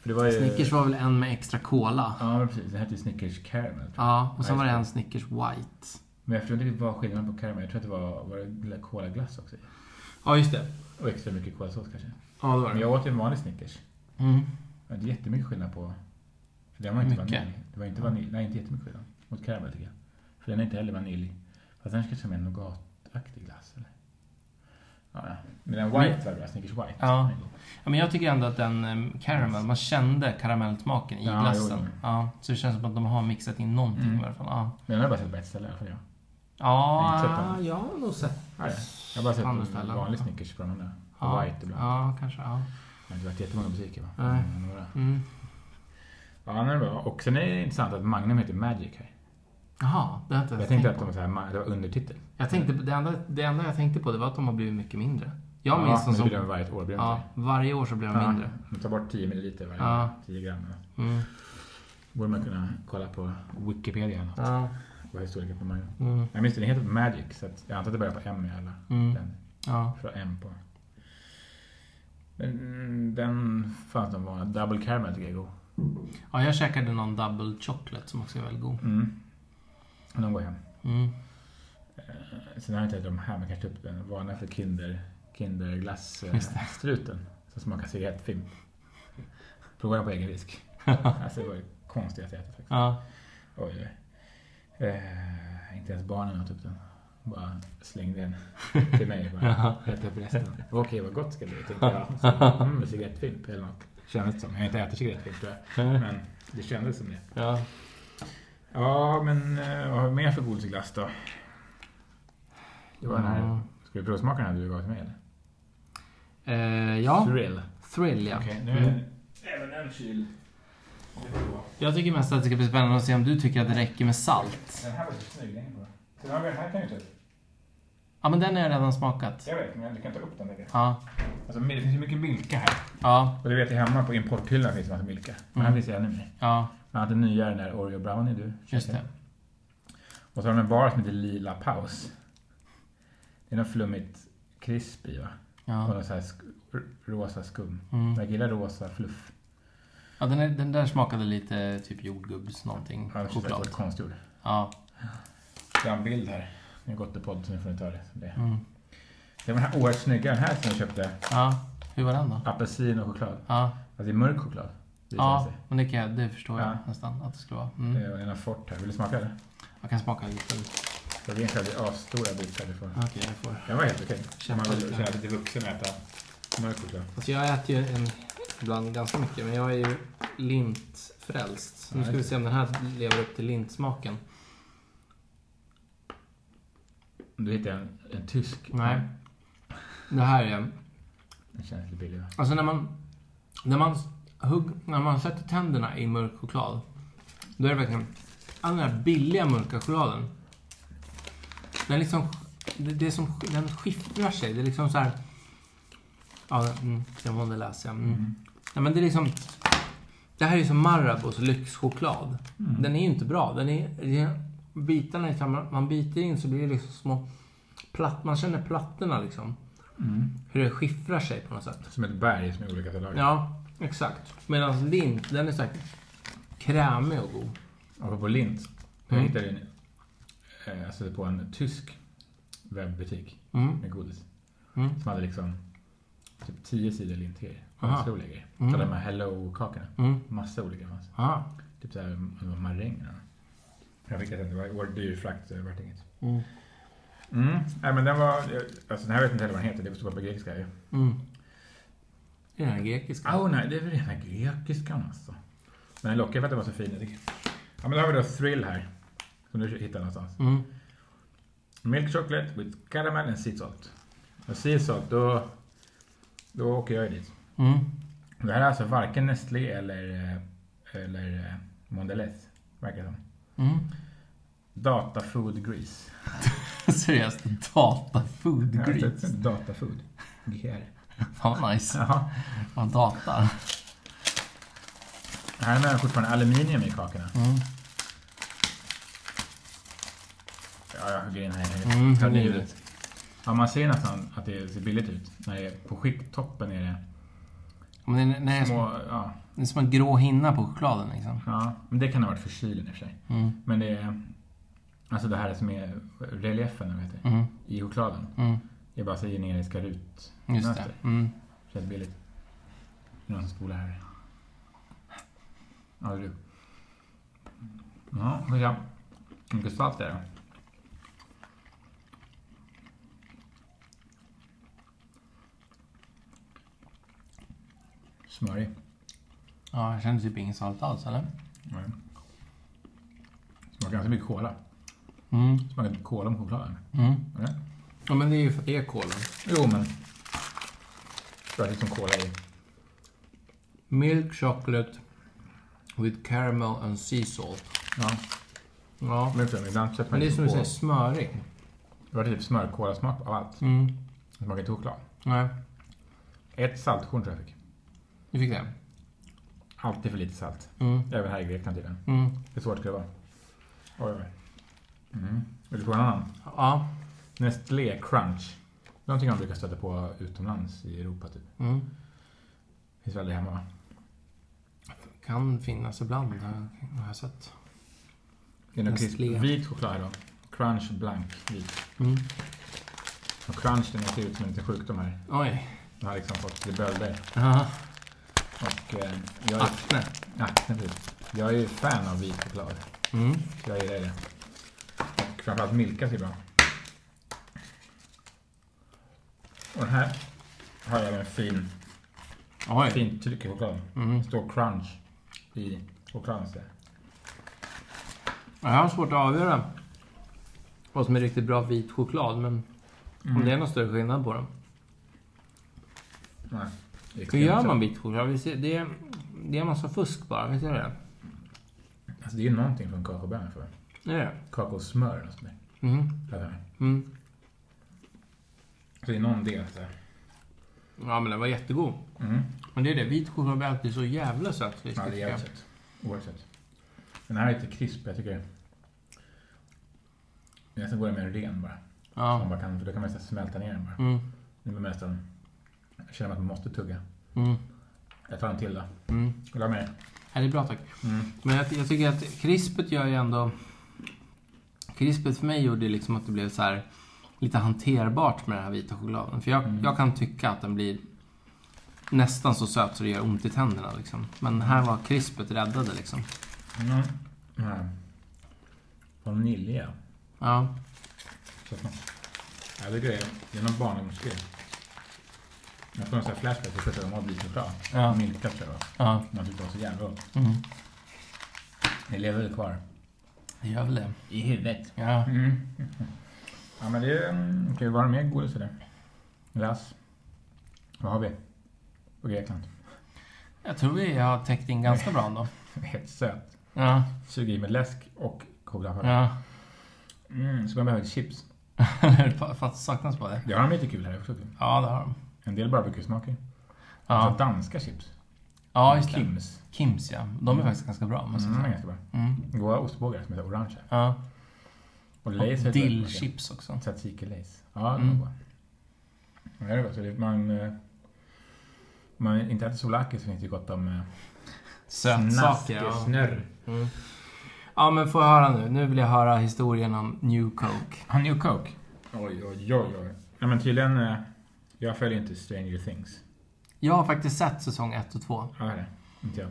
[SPEAKER 2] För det var ju...
[SPEAKER 1] Snickers var väl en med extra cola?
[SPEAKER 2] Ja, men precis. Den hette ju Snickers Caramel. tror jag.
[SPEAKER 1] Ja, och sen
[SPEAKER 2] Ja,
[SPEAKER 1] var det
[SPEAKER 2] just
[SPEAKER 1] en Snickers White.
[SPEAKER 2] Men jag förstår inte riktigt vad skillnaden på caramel. Jag tror att det var, var det kolaglass också i.
[SPEAKER 1] Ja, just det.
[SPEAKER 2] Och extra mycket kolasås kanske.
[SPEAKER 1] Ja, det var
[SPEAKER 2] Men
[SPEAKER 1] det.
[SPEAKER 2] jag åt ju en vanlig Snickers.
[SPEAKER 1] Mm.
[SPEAKER 2] Ja, Det är jättemycket skillnad på... För den var inte
[SPEAKER 1] Mycket.
[SPEAKER 2] vanilj. Det var inte vanilj. Nej, inte jättemycket skillnad. Mot karamell tycker jag. För den är inte heller vanilj. Fast den ska som en nougataktig glass eller? Ja, ja. Men den white var bra. Snickers white.
[SPEAKER 1] Mm. Ja.
[SPEAKER 2] Den är god.
[SPEAKER 1] Ja, men jag tycker ändå att den eh, caramel, man kände karamellsmaken i
[SPEAKER 2] Ja, jo,
[SPEAKER 1] glassen.
[SPEAKER 2] jo.
[SPEAKER 1] Ja, så det känns som att de har mixat in någonting
[SPEAKER 2] Mm.
[SPEAKER 1] i alla fall. Ja,
[SPEAKER 2] Men den har jag bara sett på ett ställe i alla fall jag. Inte sett
[SPEAKER 1] ja
[SPEAKER 2] den.
[SPEAKER 1] jag har nog sett.
[SPEAKER 2] Ja, ja. Jag har bara sett
[SPEAKER 1] Andra
[SPEAKER 2] en
[SPEAKER 1] ställen.
[SPEAKER 2] vanlig Snickers på de andra.
[SPEAKER 1] Ja,
[SPEAKER 2] White ibland.
[SPEAKER 1] ja kanske. Ja.
[SPEAKER 2] Det har inte varit jättemånga butiker va?
[SPEAKER 1] Nej.
[SPEAKER 2] Men Några.
[SPEAKER 1] Mm.
[SPEAKER 2] Ja, den är bra. Och sen är det intressant att Magnum heter Magic här.
[SPEAKER 1] Jaha, det har jag inte
[SPEAKER 2] Jag
[SPEAKER 1] ens tänkt
[SPEAKER 2] tänkte att
[SPEAKER 1] på.
[SPEAKER 2] de var så här, ma- det var undertitel.
[SPEAKER 1] Jag tänkte, på- det, enda, det enda jag tänkte på det var att de har blivit mycket mindre. Jag
[SPEAKER 2] ja,
[SPEAKER 1] minns dem
[SPEAKER 2] men det
[SPEAKER 1] som...
[SPEAKER 2] blir de varje år. Blir de
[SPEAKER 1] Ja,
[SPEAKER 2] inte
[SPEAKER 1] varje år så blir de
[SPEAKER 2] det?
[SPEAKER 1] mindre.
[SPEAKER 2] Ja, de tar bort 10 milliliter varje
[SPEAKER 1] Ja.
[SPEAKER 2] år. 10 gram. ja.
[SPEAKER 1] Mm.
[SPEAKER 2] Borde man kunna kolla på Wikipedia eller något.
[SPEAKER 1] Ja.
[SPEAKER 2] Vad historiker på Magnum.
[SPEAKER 1] Mm.
[SPEAKER 2] Jag minns det, den heter Magic. Så att jag antar att det börjar på M i alla
[SPEAKER 1] Mm.
[SPEAKER 2] länder.
[SPEAKER 1] Ja.
[SPEAKER 2] Från M på. Men mm, den fanns de vanliga. Double caramel tycker jag är god.
[SPEAKER 1] ja, jag käkade någon double Mm. chocolate som också är väldigt god.
[SPEAKER 2] Mm. De går hem.
[SPEAKER 1] Mm.
[SPEAKER 2] Eh, Sen har jag inte de här, men kanske typ den vanliga för kinder,
[SPEAKER 1] Just
[SPEAKER 2] Kinderglass-struten. Som smakar cigarettfimp. Prova den på egen risk. alltså det var ju konstigt att äta faktiskt.
[SPEAKER 1] Ja.
[SPEAKER 2] Oj, oj. Eh, inte ens barnen åt upp den. Bara slängde den till mig. Bara.
[SPEAKER 1] Jaha.
[SPEAKER 2] Ät upp resten. Okej, vad gott ska det bli, tänkte jag. Så, Mm, cigarettfimp eller något. Kändes som. Jag har inte ätit cigarettfimp tror jag. Men det kändes som det.
[SPEAKER 1] ja.
[SPEAKER 2] Ja, men eh, vad har vi mer för godisglass då? Det var den här.
[SPEAKER 1] Ja.
[SPEAKER 2] Ska vi provsmaka den här du gav till mig eller?
[SPEAKER 1] Eh, ja.
[SPEAKER 2] Thrill.
[SPEAKER 1] Thrill ja.
[SPEAKER 2] Okej, nu är
[SPEAKER 1] Mm.
[SPEAKER 2] även en kyl.
[SPEAKER 1] Jag tycker mest att det ska bli spännande att se om du tycker att det räcker med salt.
[SPEAKER 2] Den här var lite snygg. Den är bra. Sen har vi den här kan jag ju ta upp.
[SPEAKER 1] Ja men den har jag redan smakat.
[SPEAKER 2] Jag vet, men du kan ta upp den där.
[SPEAKER 1] Ja.
[SPEAKER 2] Alltså, det finns ju mycket Milka här.
[SPEAKER 1] Ja.
[SPEAKER 2] Och du vet, hemma på importhyllan finns det massa Milka. Men här
[SPEAKER 1] Mm.
[SPEAKER 2] finns det ännu mer.
[SPEAKER 1] Ja.
[SPEAKER 2] Bland annat den nya, den där Oreo Brownie du
[SPEAKER 1] Just
[SPEAKER 2] käkade.
[SPEAKER 1] det.
[SPEAKER 2] Och så har de en bar som heter Lila Paus. Det är något flummigt krisp i va? Och
[SPEAKER 1] Ja.
[SPEAKER 2] något så här sk- r- rosa skum.
[SPEAKER 1] Mm.
[SPEAKER 2] Jag gillar rosa fluff.
[SPEAKER 1] ja den, är, den där smakade lite typ jordgubbs någonting.
[SPEAKER 2] Ja, det känns
[SPEAKER 1] Choklad.
[SPEAKER 2] lite konstgjord.
[SPEAKER 1] Ja.
[SPEAKER 2] Det är en bild här. Nu har gått i podd så nu får ni ta det som det är.
[SPEAKER 1] Mm.
[SPEAKER 2] Det var den här oerhört snygga den här som jag köpte.
[SPEAKER 1] Ja. Hur var den då?
[SPEAKER 2] Apelsin och choklad.
[SPEAKER 1] Ja.
[SPEAKER 2] Alltså det är mörk choklad. Det
[SPEAKER 1] Ja.
[SPEAKER 2] känns
[SPEAKER 1] Men det, kan jag, det förstår jag
[SPEAKER 2] Ja.
[SPEAKER 1] nästan att det skulle vara.
[SPEAKER 2] det.
[SPEAKER 1] Mm.
[SPEAKER 2] Det är en Fort här. Vill du smaka det?
[SPEAKER 1] Jag kan smaka lite.
[SPEAKER 2] Det är egentligen det är asstora bitar du får.
[SPEAKER 1] Okej, jag får.
[SPEAKER 2] Den var helt okej. Om
[SPEAKER 1] Kämpa
[SPEAKER 2] man vill
[SPEAKER 1] lite.
[SPEAKER 2] känna lite vuxen och äta mörk choklad.
[SPEAKER 1] Alltså jag äter ju en, ibland ganska mycket, men jag är ju lintfrälst. Så nu ska vi se om den här lever upp till lintsmaken.
[SPEAKER 2] Du hittade en, en tysk.
[SPEAKER 1] Nej. Det här är...
[SPEAKER 2] Den känns lite billig va?
[SPEAKER 1] Alltså när man... När man, hugg, när man sätter tänderna i mörk choklad, då är det verkligen... All den här billiga mörka chokladen. Den liksom... Det, det är som, den skiftrar sig. Det är liksom så här... Ja, mm, jag måste läsa. Mm. Nej, men det är liksom... Det här är ju som Marabos lyxchoklad.
[SPEAKER 2] Mm.
[SPEAKER 1] Den är ju inte bra. Den är, det är- bitarna är, man, man biter in så blir det liksom små... Platt, man känner plattorna liksom.
[SPEAKER 2] Mm.
[SPEAKER 1] Hur det skiffrar sig på något sätt.
[SPEAKER 2] Som ett berg som är olika till lager.
[SPEAKER 1] Ja, exakt. Medan lint, den är säkert krämig och god.
[SPEAKER 2] Och på lint. Jag
[SPEAKER 1] Mm.
[SPEAKER 2] hittade en, eh, alltså på en tysk webbutik
[SPEAKER 1] Mm.
[SPEAKER 2] med godis.
[SPEAKER 1] Mm.
[SPEAKER 2] Som hade liksom typ 10 sidor linterier.
[SPEAKER 1] Aha.
[SPEAKER 2] Massa olika grejer.
[SPEAKER 1] Mm.
[SPEAKER 2] Så hade de här Hello-kakorna.
[SPEAKER 1] Mm.
[SPEAKER 2] Massa olika fanns.
[SPEAKER 1] Ah.
[SPEAKER 2] Typ såhär, det var maränger. Jag fick det sen. Det var, det var dyr frakt så det vart inget.
[SPEAKER 1] Mm.
[SPEAKER 2] Mm. Nej men den var, alltså den här vet jag inte heller vad den heter. Det står på grekiska ju.
[SPEAKER 1] Mm. Det är den här grekiska.
[SPEAKER 2] Åh oh, nej, det är väl rena grekiskan alltså. Men den lockade för att den var så fin. jag tycker. Ja men då har vi då Thrill här. Som du hittade någonstans.
[SPEAKER 1] Mm.
[SPEAKER 2] Milk chocolate with caramel and sea salt. Och sea salt, då, då åker jag ju dit.
[SPEAKER 1] Mm.
[SPEAKER 2] Det här är alltså varken Nestlé eller, eh, eller eh, Mondelez, verkar det som.
[SPEAKER 1] Mm.
[SPEAKER 2] Data Food Grease.
[SPEAKER 1] Seriöst, data food
[SPEAKER 2] Jag har
[SPEAKER 1] grease.
[SPEAKER 2] sett Data Food. GR.
[SPEAKER 1] Fan vad nice.
[SPEAKER 2] Jaha.
[SPEAKER 1] Man datar.
[SPEAKER 2] Här har jag fortfarande aluminium i kakorna.
[SPEAKER 1] Mm.
[SPEAKER 2] Ja, jag hugger in här.
[SPEAKER 1] Mm,
[SPEAKER 2] Hör ni
[SPEAKER 1] det är
[SPEAKER 2] ljudet? Ja, man ser nästan att det ser billigt ut. När det är på skikttoppen är det
[SPEAKER 1] Men det, är- det, är som,
[SPEAKER 2] små... Ja,
[SPEAKER 1] det är som en grå hinna på chokladen liksom.
[SPEAKER 2] ja, men det kan ha varit för kylen i och för sig.
[SPEAKER 1] Mm.
[SPEAKER 2] Men det är... Alltså det här som är reliefen, eller vad heter det?
[SPEAKER 1] Mm.
[SPEAKER 2] I chokladen.
[SPEAKER 1] Mm.
[SPEAKER 2] Det är bara så generiska rut.
[SPEAKER 1] Just det. Mm.
[SPEAKER 2] Känns billigt. Det är någon som spolar här. Ja, det är du. Ja, får se. Hur mycket salt är det? Smörig.
[SPEAKER 1] Ja, jag känner typ ingen salt alls eller?
[SPEAKER 2] Nej. Smakar ganska mycket kola.
[SPEAKER 1] Mm.
[SPEAKER 2] Smakar lite kola med chokladen.
[SPEAKER 1] Mm.
[SPEAKER 2] Eller?
[SPEAKER 1] Ja, men det är ju för e kolen.
[SPEAKER 2] Jo, men... Det är lite som kola i.
[SPEAKER 1] Milk chocolate with caramel and sea salt.
[SPEAKER 2] Ja,
[SPEAKER 1] Ja,
[SPEAKER 2] men liksom, ibland sätter man
[SPEAKER 1] men det är
[SPEAKER 2] lite
[SPEAKER 1] som du
[SPEAKER 2] kola.
[SPEAKER 1] säger, smörig.
[SPEAKER 2] Det var typ smörkolasmak av allt.
[SPEAKER 1] Mm.
[SPEAKER 2] Det smakade inte choklad.
[SPEAKER 1] Nej,
[SPEAKER 2] Ett saltkorn tror jag fick.
[SPEAKER 1] du fick det.
[SPEAKER 2] Alltid för lite salt.
[SPEAKER 1] Mm.
[SPEAKER 2] Även här i Grekland tydligen.
[SPEAKER 1] Mm.
[SPEAKER 2] Hur svårt ska det vara? Oj, oj. Mm. Vill du få en annan?
[SPEAKER 1] Ja.
[SPEAKER 2] Nestlé Crunch. Någonting man brukar stöta på utomlands i Europa typ.
[SPEAKER 1] Mm.
[SPEAKER 2] Finns väl det hemma va?
[SPEAKER 1] Kan finnas ibland, har jag- har jag sett.
[SPEAKER 2] Det är nog krisp-
[SPEAKER 1] Nestlé.
[SPEAKER 2] vit choklad här då. Crunch blank vit.
[SPEAKER 1] Mm.
[SPEAKER 2] Och crunch den ser ut som en liten sjukdom här.
[SPEAKER 1] Oj. Ah,
[SPEAKER 2] Den har liksom fått lite bölder.
[SPEAKER 1] Jaha.
[SPEAKER 2] Och eh, jag är...
[SPEAKER 1] Akne.
[SPEAKER 2] Ah, precis. Jag är ju fan av vit choklad.
[SPEAKER 1] Mm.
[SPEAKER 2] Jag gillar det. Och framförallt Milkas är bra. Och den här har jag en fin,
[SPEAKER 1] Oj.
[SPEAKER 2] fint tryck i chokladen.
[SPEAKER 1] Mm.
[SPEAKER 2] Det står crunch i chokladen. så.
[SPEAKER 1] Jag har svårt att avgöra vad som är riktigt bra vit choklad, men om det är någon större skillnad på dem.
[SPEAKER 2] Nej, det är
[SPEAKER 1] Hur gör man vit choklad? Vi ser, det, är, det är en massa fusk bara, visst är det
[SPEAKER 2] Alltså, det är ju någonting från kakaobönan för.
[SPEAKER 1] det? Är det?
[SPEAKER 2] Kakaosmör eller något sånt där.
[SPEAKER 1] Mm.
[SPEAKER 2] Eller?
[SPEAKER 1] Mm.
[SPEAKER 2] Så det är någon del så. här.
[SPEAKER 1] Ja, men den var jättegod.
[SPEAKER 2] Mm.
[SPEAKER 1] Men det är det, vit choklad blir alltid så jävla söt. så
[SPEAKER 2] Ja, det är
[SPEAKER 1] tycker jag.
[SPEAKER 2] jävligt sött. Oerhört sött. Den här är lite krisp, jag tycker. Jag nästan går den mer ren bara. Så man
[SPEAKER 1] Ja.
[SPEAKER 2] bara kan, för då kan man nästan smälta ner den bara.
[SPEAKER 1] Mm.
[SPEAKER 2] Nu blir man nästan... Jag känner att man måste tugga.
[SPEAKER 1] Mm.
[SPEAKER 2] Jag tar en till då.
[SPEAKER 1] Mm.
[SPEAKER 2] Vill du ha mer?
[SPEAKER 1] Ja, det är bra tack.
[SPEAKER 2] Mm.
[SPEAKER 1] Men jag, jag tycker att krispet gör ju ändå... Krispet för mig gjorde ju liksom att det blev så här lite hanterbart med den här vita chokladen. För jag,
[SPEAKER 2] Mm.
[SPEAKER 1] jag kan tycka att den blir nästan så söt så det gör ont i tänderna. Liksom. Men här var krispet räddade liksom.
[SPEAKER 2] Mm. Den här. Vanilja.
[SPEAKER 1] Ja.
[SPEAKER 2] Så att man- Jag tycker det är, det är någon barndomsgrej. Jag får en sån här flashback till första gången jag blev choklad.
[SPEAKER 1] Ja.
[SPEAKER 2] Milka tror jag det var.
[SPEAKER 1] ja.
[SPEAKER 2] Man tyckte det var så jävla gott.
[SPEAKER 1] Mm.
[SPEAKER 2] Det lever väl kvar.
[SPEAKER 1] Det gör väl det.
[SPEAKER 2] I huvudet.
[SPEAKER 1] Ja.
[SPEAKER 2] Mm. Ja men det mm, kan ju vara mer godis eller? Glass. Vad har vi? På Grekland.
[SPEAKER 1] Jag tror vi har täckt in ganska bra ändå.
[SPEAKER 2] Helt söt.
[SPEAKER 1] Ja.
[SPEAKER 2] Suger i med läsk och cola.
[SPEAKER 1] Ja.
[SPEAKER 2] Mm, så man behöver chips.
[SPEAKER 1] Fast saknas bara det.
[SPEAKER 2] Det har de lite kul här också. typ.
[SPEAKER 1] Ja, det har de.
[SPEAKER 2] En del barbecuesmaker.
[SPEAKER 1] Ja,
[SPEAKER 2] Alltså danska chips.
[SPEAKER 1] ja just det.
[SPEAKER 2] Kims.
[SPEAKER 1] Kims ja. De är faktiskt ganska bra. måste jag
[SPEAKER 2] Mm,
[SPEAKER 1] säga.
[SPEAKER 2] ganska bra.
[SPEAKER 1] Mm.
[SPEAKER 2] Goda ostbågar som är så orangea.
[SPEAKER 1] Ja.
[SPEAKER 2] Och
[SPEAKER 1] Och
[SPEAKER 2] Lays
[SPEAKER 1] dillchips också.
[SPEAKER 2] Tzatziki Lays. Ja, de
[SPEAKER 1] Mm.
[SPEAKER 2] är goda. Ja, det är gott. Så det- Man, eh, om man inte äter souvlaki så finns det ju gott om eh, snask,
[SPEAKER 1] Sötsaker. Ja.
[SPEAKER 2] snörr.
[SPEAKER 1] Mm. ja men får jag höra nu. Nu vill jag höra historien om New Coke.
[SPEAKER 2] Han New Coke? Oj, oj, oj, oj. Nej men tydligen, eh, jag följer inte Stranger Things.
[SPEAKER 1] Jag har faktiskt sett säsong 1 och 2.
[SPEAKER 2] Ja, det är det. Inte jag.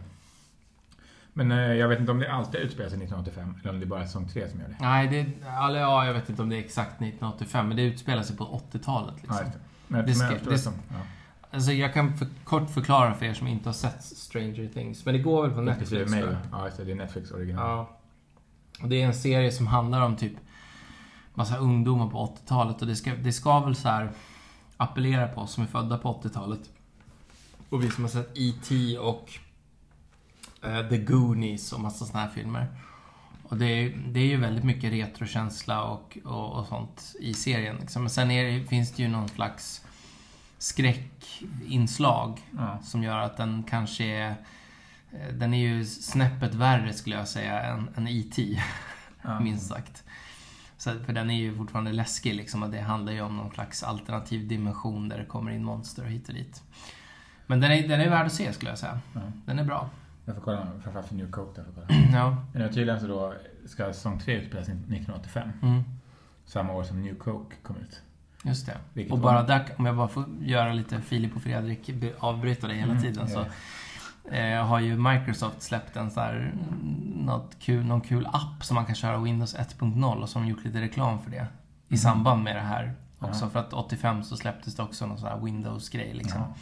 [SPEAKER 2] Men eh, jag vet inte om det alltid utspelar sig 1985 eller om det bara är säsong 3 som gör det.
[SPEAKER 1] Nej, det, eller, ja, jag vet inte om det är exakt 1985 men det utspelar sig på 80-talet.
[SPEAKER 2] Ja,
[SPEAKER 1] Liksom.
[SPEAKER 2] just det. Men,
[SPEAKER 1] Det
[SPEAKER 2] det
[SPEAKER 1] ska-
[SPEAKER 2] men jag förstår
[SPEAKER 1] det-
[SPEAKER 2] det som. Ja.
[SPEAKER 1] Alltså, jag kan för, kort förklara för er som inte har sett Stranger Things. Men det går väl på Netflix?
[SPEAKER 2] Inklusive mig
[SPEAKER 1] tror jag.
[SPEAKER 2] va? Ja, just det. Det är Netflix original.
[SPEAKER 1] Ja. Och det är en serie som handlar om typ massa ungdomar på 80-talet och det ska, det ska väl så här appellera på oss som är födda på 80-talet. Och vi som har sett E.T. och eh, The Goonies och massa såna här filmer. Och det är, det är ju väldigt mycket retrokänsla och, och, och sånt i serien. Liksom. Men sen är det, finns det ju någon slags skräckinslag
[SPEAKER 2] Ja.
[SPEAKER 1] som gör att den kanske är... eh, Den är ju snäppet värre skulle jag säga än, än E.T.
[SPEAKER 2] Ja.
[SPEAKER 1] minst sagt. Så, att- för den är ju fortfarande läskig liksom och det handlar ju om någon slags alternativ dimension där det kommer in monster och hit och dit. Men den är, den är värd att se skulle jag säga.
[SPEAKER 2] Ja.
[SPEAKER 1] Den är bra.
[SPEAKER 2] Jag får kolla framförallt för New Coke. Där får jag kolla.
[SPEAKER 1] Ja.
[SPEAKER 2] Men tydligen så då ska säsong 3 utspela sig 1985.
[SPEAKER 1] Mm.
[SPEAKER 2] Samma år som New Coke kom ut.
[SPEAKER 1] Just det.
[SPEAKER 2] Vilket
[SPEAKER 1] Och
[SPEAKER 2] var-
[SPEAKER 1] bara där, om jag bara får göra lite Filip och Fredrik be- avbryta dig hela
[SPEAKER 2] Mm,
[SPEAKER 1] tiden
[SPEAKER 2] ja,
[SPEAKER 1] så eh, har ju Microsoft släppt en så här, mm, något kul, någon kul app som man kan köra Windows 1.0 och som gjort lite reklam för det i
[SPEAKER 2] Mhm.
[SPEAKER 1] samband med det här också.
[SPEAKER 2] Ja.
[SPEAKER 1] För att 85 så släpptes det också någon sån här Windows-grej liksom.
[SPEAKER 2] Ja.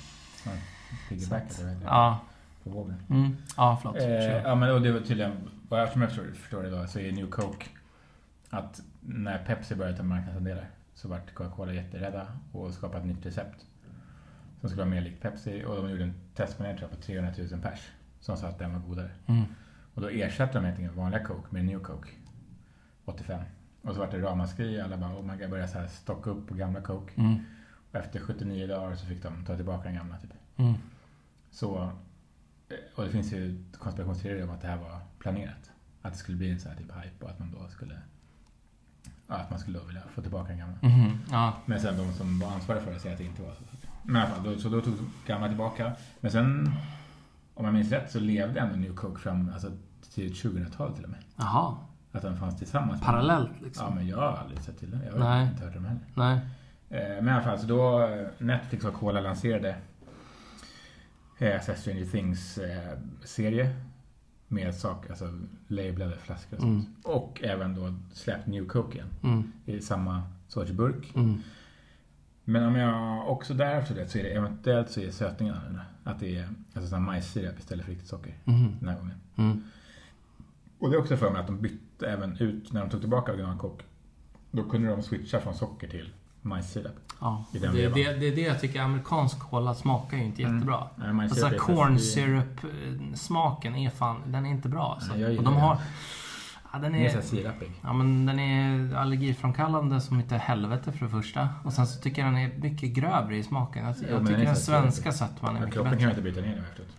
[SPEAKER 2] Ja. Piggyback, jag vet inte.
[SPEAKER 1] Ja,
[SPEAKER 2] På vågen.
[SPEAKER 1] mm, ja förlåt.
[SPEAKER 2] Eh,
[SPEAKER 1] Kör.
[SPEAKER 2] ja, men och det var tydligen, vad jag som jag förstår, förstår det då, så är New Coke att när Pepsi började ta marknadsandelar så vart Coca-Cola jätterädda och skapade ett nytt recept som skulle vara mer likt Pepsi och de gjorde en testpanel tror jag, på 300 000 pers som sa att den var godare.
[SPEAKER 1] Mm.
[SPEAKER 2] Och då ersatte de helt enkelt vanliga Coke med New Coke 85. Och så vart det ramaskri, alla bara oh my god, började så här stocka upp på gamla Coke.
[SPEAKER 1] Mm.
[SPEAKER 2] Och efter 79 dagar så fick de ta tillbaka den gamla typ.
[SPEAKER 1] Mm.
[SPEAKER 2] Så, eh, och det finns ju konspirationsteorier om att det här var planerat. Att det skulle bli en sån här typ hype och att man då skulle, ja, att man skulle då vilja få tillbaka den gamla.
[SPEAKER 1] Mhm. Ja.
[SPEAKER 2] Men sen de som var ansvariga för det säger att det inte var så. Men i alla fall, då, så då tog gamla tillbaka. Men sen, om jag minns rätt, så levde ändå New Coke fram alltså, till 2000-talet till och med.
[SPEAKER 1] Jaha,
[SPEAKER 2] Att de fanns tillsammans.
[SPEAKER 1] parallellt liksom.
[SPEAKER 2] Ja, men jag har aldrig sett till det. Jag har
[SPEAKER 1] Nej.
[SPEAKER 2] inte hört om det heller.
[SPEAKER 1] Nej.
[SPEAKER 2] Eh, Men i alla fall, så då eh, Netflix och Cola lanserade eh, så här Stranger Things-serie med saker, alltså lablade flaskor och sånt. Och även då släppt New Coke igen
[SPEAKER 1] Mm.
[SPEAKER 2] i samma sorts burk.
[SPEAKER 1] Mm.
[SPEAKER 2] Men om jag också där har förstått rätt så är det eventuellt så är sötningen annorlunda. Att det är alltså sån här majssirap istället för riktigt socker
[SPEAKER 1] Mm.
[SPEAKER 2] den här gången.
[SPEAKER 1] Mm.
[SPEAKER 2] Och det är också för mig att de bytte även ut, när de tog tillbaka original Coke, då kunde de switcha från socker till majssirap.
[SPEAKER 1] Ja,
[SPEAKER 2] I
[SPEAKER 1] det,
[SPEAKER 2] den
[SPEAKER 1] det,
[SPEAKER 2] vevan.
[SPEAKER 1] det, är det jag tycker. Amerikansk cola smakar ju inte
[SPEAKER 2] Mm.
[SPEAKER 1] jättebra.
[SPEAKER 2] Nej, majssirap
[SPEAKER 1] Alltså
[SPEAKER 2] är-
[SPEAKER 1] corn syrup eh, smaken är fan, den är inte bra. Alltså.
[SPEAKER 2] Nej, jag gillar
[SPEAKER 1] Och de
[SPEAKER 2] den.
[SPEAKER 1] har... Ja, den
[SPEAKER 2] Den är så här
[SPEAKER 1] är...
[SPEAKER 2] sirapig.
[SPEAKER 1] Ja, men den är allergiframkallande som inte helvete för det första. Och sen så tycker jag den är mycket grövre i smaken. Alltså,
[SPEAKER 2] Ja,
[SPEAKER 1] jag
[SPEAKER 2] men
[SPEAKER 1] tycker
[SPEAKER 2] den är
[SPEAKER 1] den
[SPEAKER 2] så här
[SPEAKER 1] svenska sötman är
[SPEAKER 2] Ja,
[SPEAKER 1] mycket
[SPEAKER 2] kroppen kan ju
[SPEAKER 1] bättre.
[SPEAKER 2] inte byta ner den efteråt.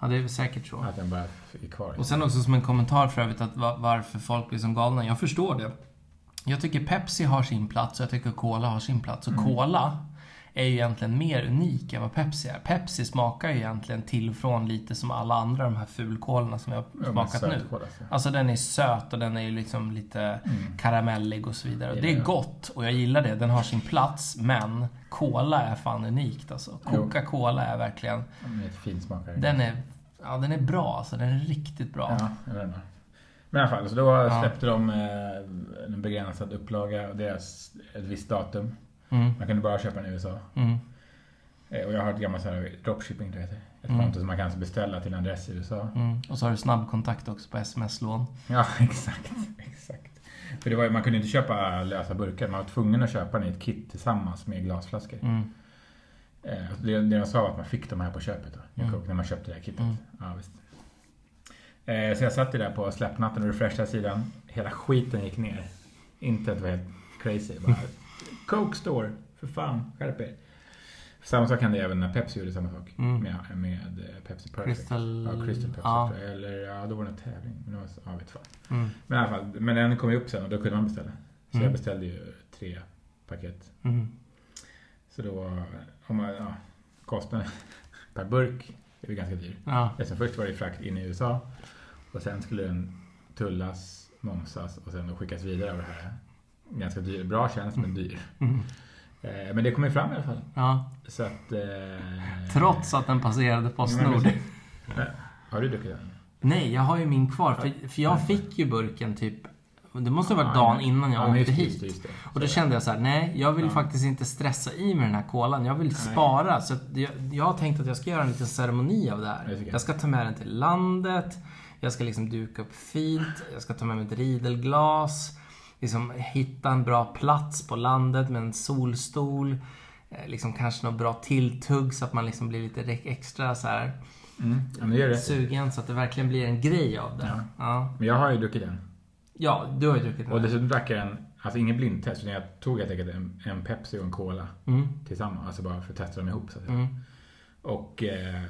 [SPEAKER 1] Ja, det är säkert så.
[SPEAKER 2] Att den bara är kvar.
[SPEAKER 1] Och sen också som en kommentar för övrigt att va- varför folk blir som galna. Jag förstår det. Jag tycker Pepsi har sin plats och jag tycker Cola har sin plats. Och
[SPEAKER 2] Mm.
[SPEAKER 1] Cola är ju egentligen mer unik än vad Pepsi är. Pepsi smakar ju egentligen till och från lite som alla andra de här fulkolorna som jag
[SPEAKER 2] Ja,
[SPEAKER 1] har
[SPEAKER 2] men
[SPEAKER 1] smakat nu.
[SPEAKER 2] sötkål, Alltså.
[SPEAKER 1] Alltså den är söt och den är ju liksom lite
[SPEAKER 2] Mm.
[SPEAKER 1] karamellig och så vidare. Och
[SPEAKER 2] Ja,
[SPEAKER 1] det är
[SPEAKER 2] ja.
[SPEAKER 1] gott och jag gillar det. Den har sin plats men Cola är fan unikt alltså.
[SPEAKER 2] Jo.
[SPEAKER 1] Coca-Cola är verkligen...
[SPEAKER 2] Ja, men det är ett fint smakare.
[SPEAKER 1] Den är, ja, den är bra alltså. Den är riktigt bra.
[SPEAKER 2] Ja, jag vet inte. Men i alla fall, så då släppte de eh, en begränsad upplaga och deras ett visst datum.
[SPEAKER 1] Mm.
[SPEAKER 2] Man kunde bara köpa den i USA.
[SPEAKER 1] Mm.
[SPEAKER 2] Eh, Och jag har ett gammalt så här dropshipping, tror jag det heter. Ett
[SPEAKER 1] Mm.
[SPEAKER 2] konto som man kan alltså beställa till en adress i USA.
[SPEAKER 1] Mm. Och så har du snabbkontakt också på sms-lån.
[SPEAKER 2] Ja, exakt. exakt. För det var, ju- man kunde inte köpa lösa burkar. Man var tvungen att köpa den i ett kit tillsammans med glasflaskor.
[SPEAKER 1] Mm.
[SPEAKER 2] Eh, och Det, det de sa var att man fick de här på köpet då, New
[SPEAKER 1] Mm.
[SPEAKER 2] Coke, när man köpte det här kittet.
[SPEAKER 1] Mm.
[SPEAKER 2] Ja, visst. Eh, så jag satt ju där på släppnatten och refreshade sidan. Hela skiten gick ner. Inte att det var helt crazy. Bara, Coke store, för fan, skärp er. Samma sak hände även när Pepsi gjorde samma sak.
[SPEAKER 1] Mm.
[SPEAKER 2] Med, med eh, Pepsi Perfect.
[SPEAKER 1] Crystal...
[SPEAKER 2] Ja, Crystal Pepsi
[SPEAKER 1] Ja.
[SPEAKER 2] tror jag. Eller ja, då var det en tävling. Men, det var, så- ja, vet fan.
[SPEAKER 1] Mm.
[SPEAKER 2] men i alla fall, men den kom ju upp sen och då kunde man beställa. Så
[SPEAKER 1] Mm.
[SPEAKER 2] jag beställde ju tre paket.
[SPEAKER 1] Mm.
[SPEAKER 2] Så då, om man, ja, kostnaden per burk är ju ganska dyr.
[SPEAKER 1] Ja.
[SPEAKER 2] Eftersom först var det frakt in i USA och sen skulle den tullas, momsas och sen då skickas vidare av det här. Ganska dyr, bra tjänst men dyr.
[SPEAKER 1] Mm.
[SPEAKER 2] Eh, men det kom ju fram i alla fall.
[SPEAKER 1] ja.
[SPEAKER 2] Så att... Eh,
[SPEAKER 1] Trots att den passerade
[SPEAKER 2] Ja, men
[SPEAKER 1] Postnord.
[SPEAKER 2] precis. Eh, Har du druckit den?
[SPEAKER 1] Nej, jag har ju min kvar. För, för jag fick ju burken typ... Det måste ha varit
[SPEAKER 2] Ja,
[SPEAKER 1] dagen
[SPEAKER 2] ja.
[SPEAKER 1] innan jag
[SPEAKER 2] Ja, men
[SPEAKER 1] åkte
[SPEAKER 2] just det, just det,
[SPEAKER 1] hit.
[SPEAKER 2] just det.
[SPEAKER 1] Och då
[SPEAKER 2] Så-
[SPEAKER 1] kände jag så här: nej, jag vill
[SPEAKER 2] Ja.
[SPEAKER 1] faktiskt inte stressa i mig den här kolan. Jag vill
[SPEAKER 2] Nej.
[SPEAKER 1] spara. Så att jag, jag har tänkt att jag ska göra en liten ceremoni av det
[SPEAKER 2] Det
[SPEAKER 1] här.
[SPEAKER 2] tycker jag.
[SPEAKER 1] Jag ska ta med den till landet. Jag ska liksom duka upp fint. Jag ska ta med mitt ridelglas. Liksom hitta en bra plats på landet med en solstol. Eh, Liksom kanske något bra tilltugg så att man liksom blir lite re- extra så här
[SPEAKER 2] Mm, ja, men det gör det.
[SPEAKER 1] sugen så att det verkligen blir en grej av det.
[SPEAKER 2] Ja.
[SPEAKER 1] Ja,
[SPEAKER 2] Men jag har ju druckit den.
[SPEAKER 1] ja du har ju druckit
[SPEAKER 2] Och
[SPEAKER 1] den.
[SPEAKER 2] dessutom drack jag den, alltså ingen blindtest, utan jag tog helt enkelt en, en Pepsi och en Cola
[SPEAKER 1] Mm,
[SPEAKER 2] tillsammans. Alltså bara för att testa dem ihop. Så att säga.
[SPEAKER 1] mm,
[SPEAKER 2] Och eh,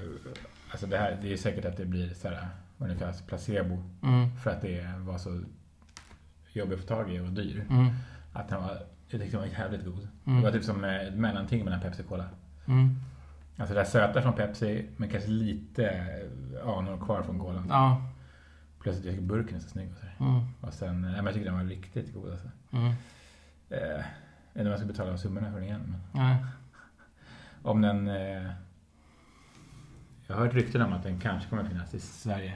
[SPEAKER 2] alltså det här, det är säkert att det blir så här, vad det kallas, placebo.
[SPEAKER 1] mm,
[SPEAKER 2] För att det var så jobbig att få tag i och dyr.
[SPEAKER 1] mm,
[SPEAKER 2] Att den var, jag tyckte den var jävligt god.
[SPEAKER 1] Mm.
[SPEAKER 2] Det var typ som eh, ett mellanting mellan Pepsi och Cola.
[SPEAKER 1] mm.
[SPEAKER 2] Alltså det där söta från Pepsi, men kanske lite eh, anor kvar från Colan.
[SPEAKER 1] Ja.
[SPEAKER 2] Plus att jag tycker burken är så snygg och sådär.
[SPEAKER 1] Mm,
[SPEAKER 2] Och sen, nej, men jag tycker den var riktigt god alltså.
[SPEAKER 1] mm.
[SPEAKER 2] Eh, jag vet inte om jag ska betala summorna för den igen. Men
[SPEAKER 1] Nej.
[SPEAKER 2] om den... Eh, jag har hört rykten om att den kanske kommer finnas i Sverige.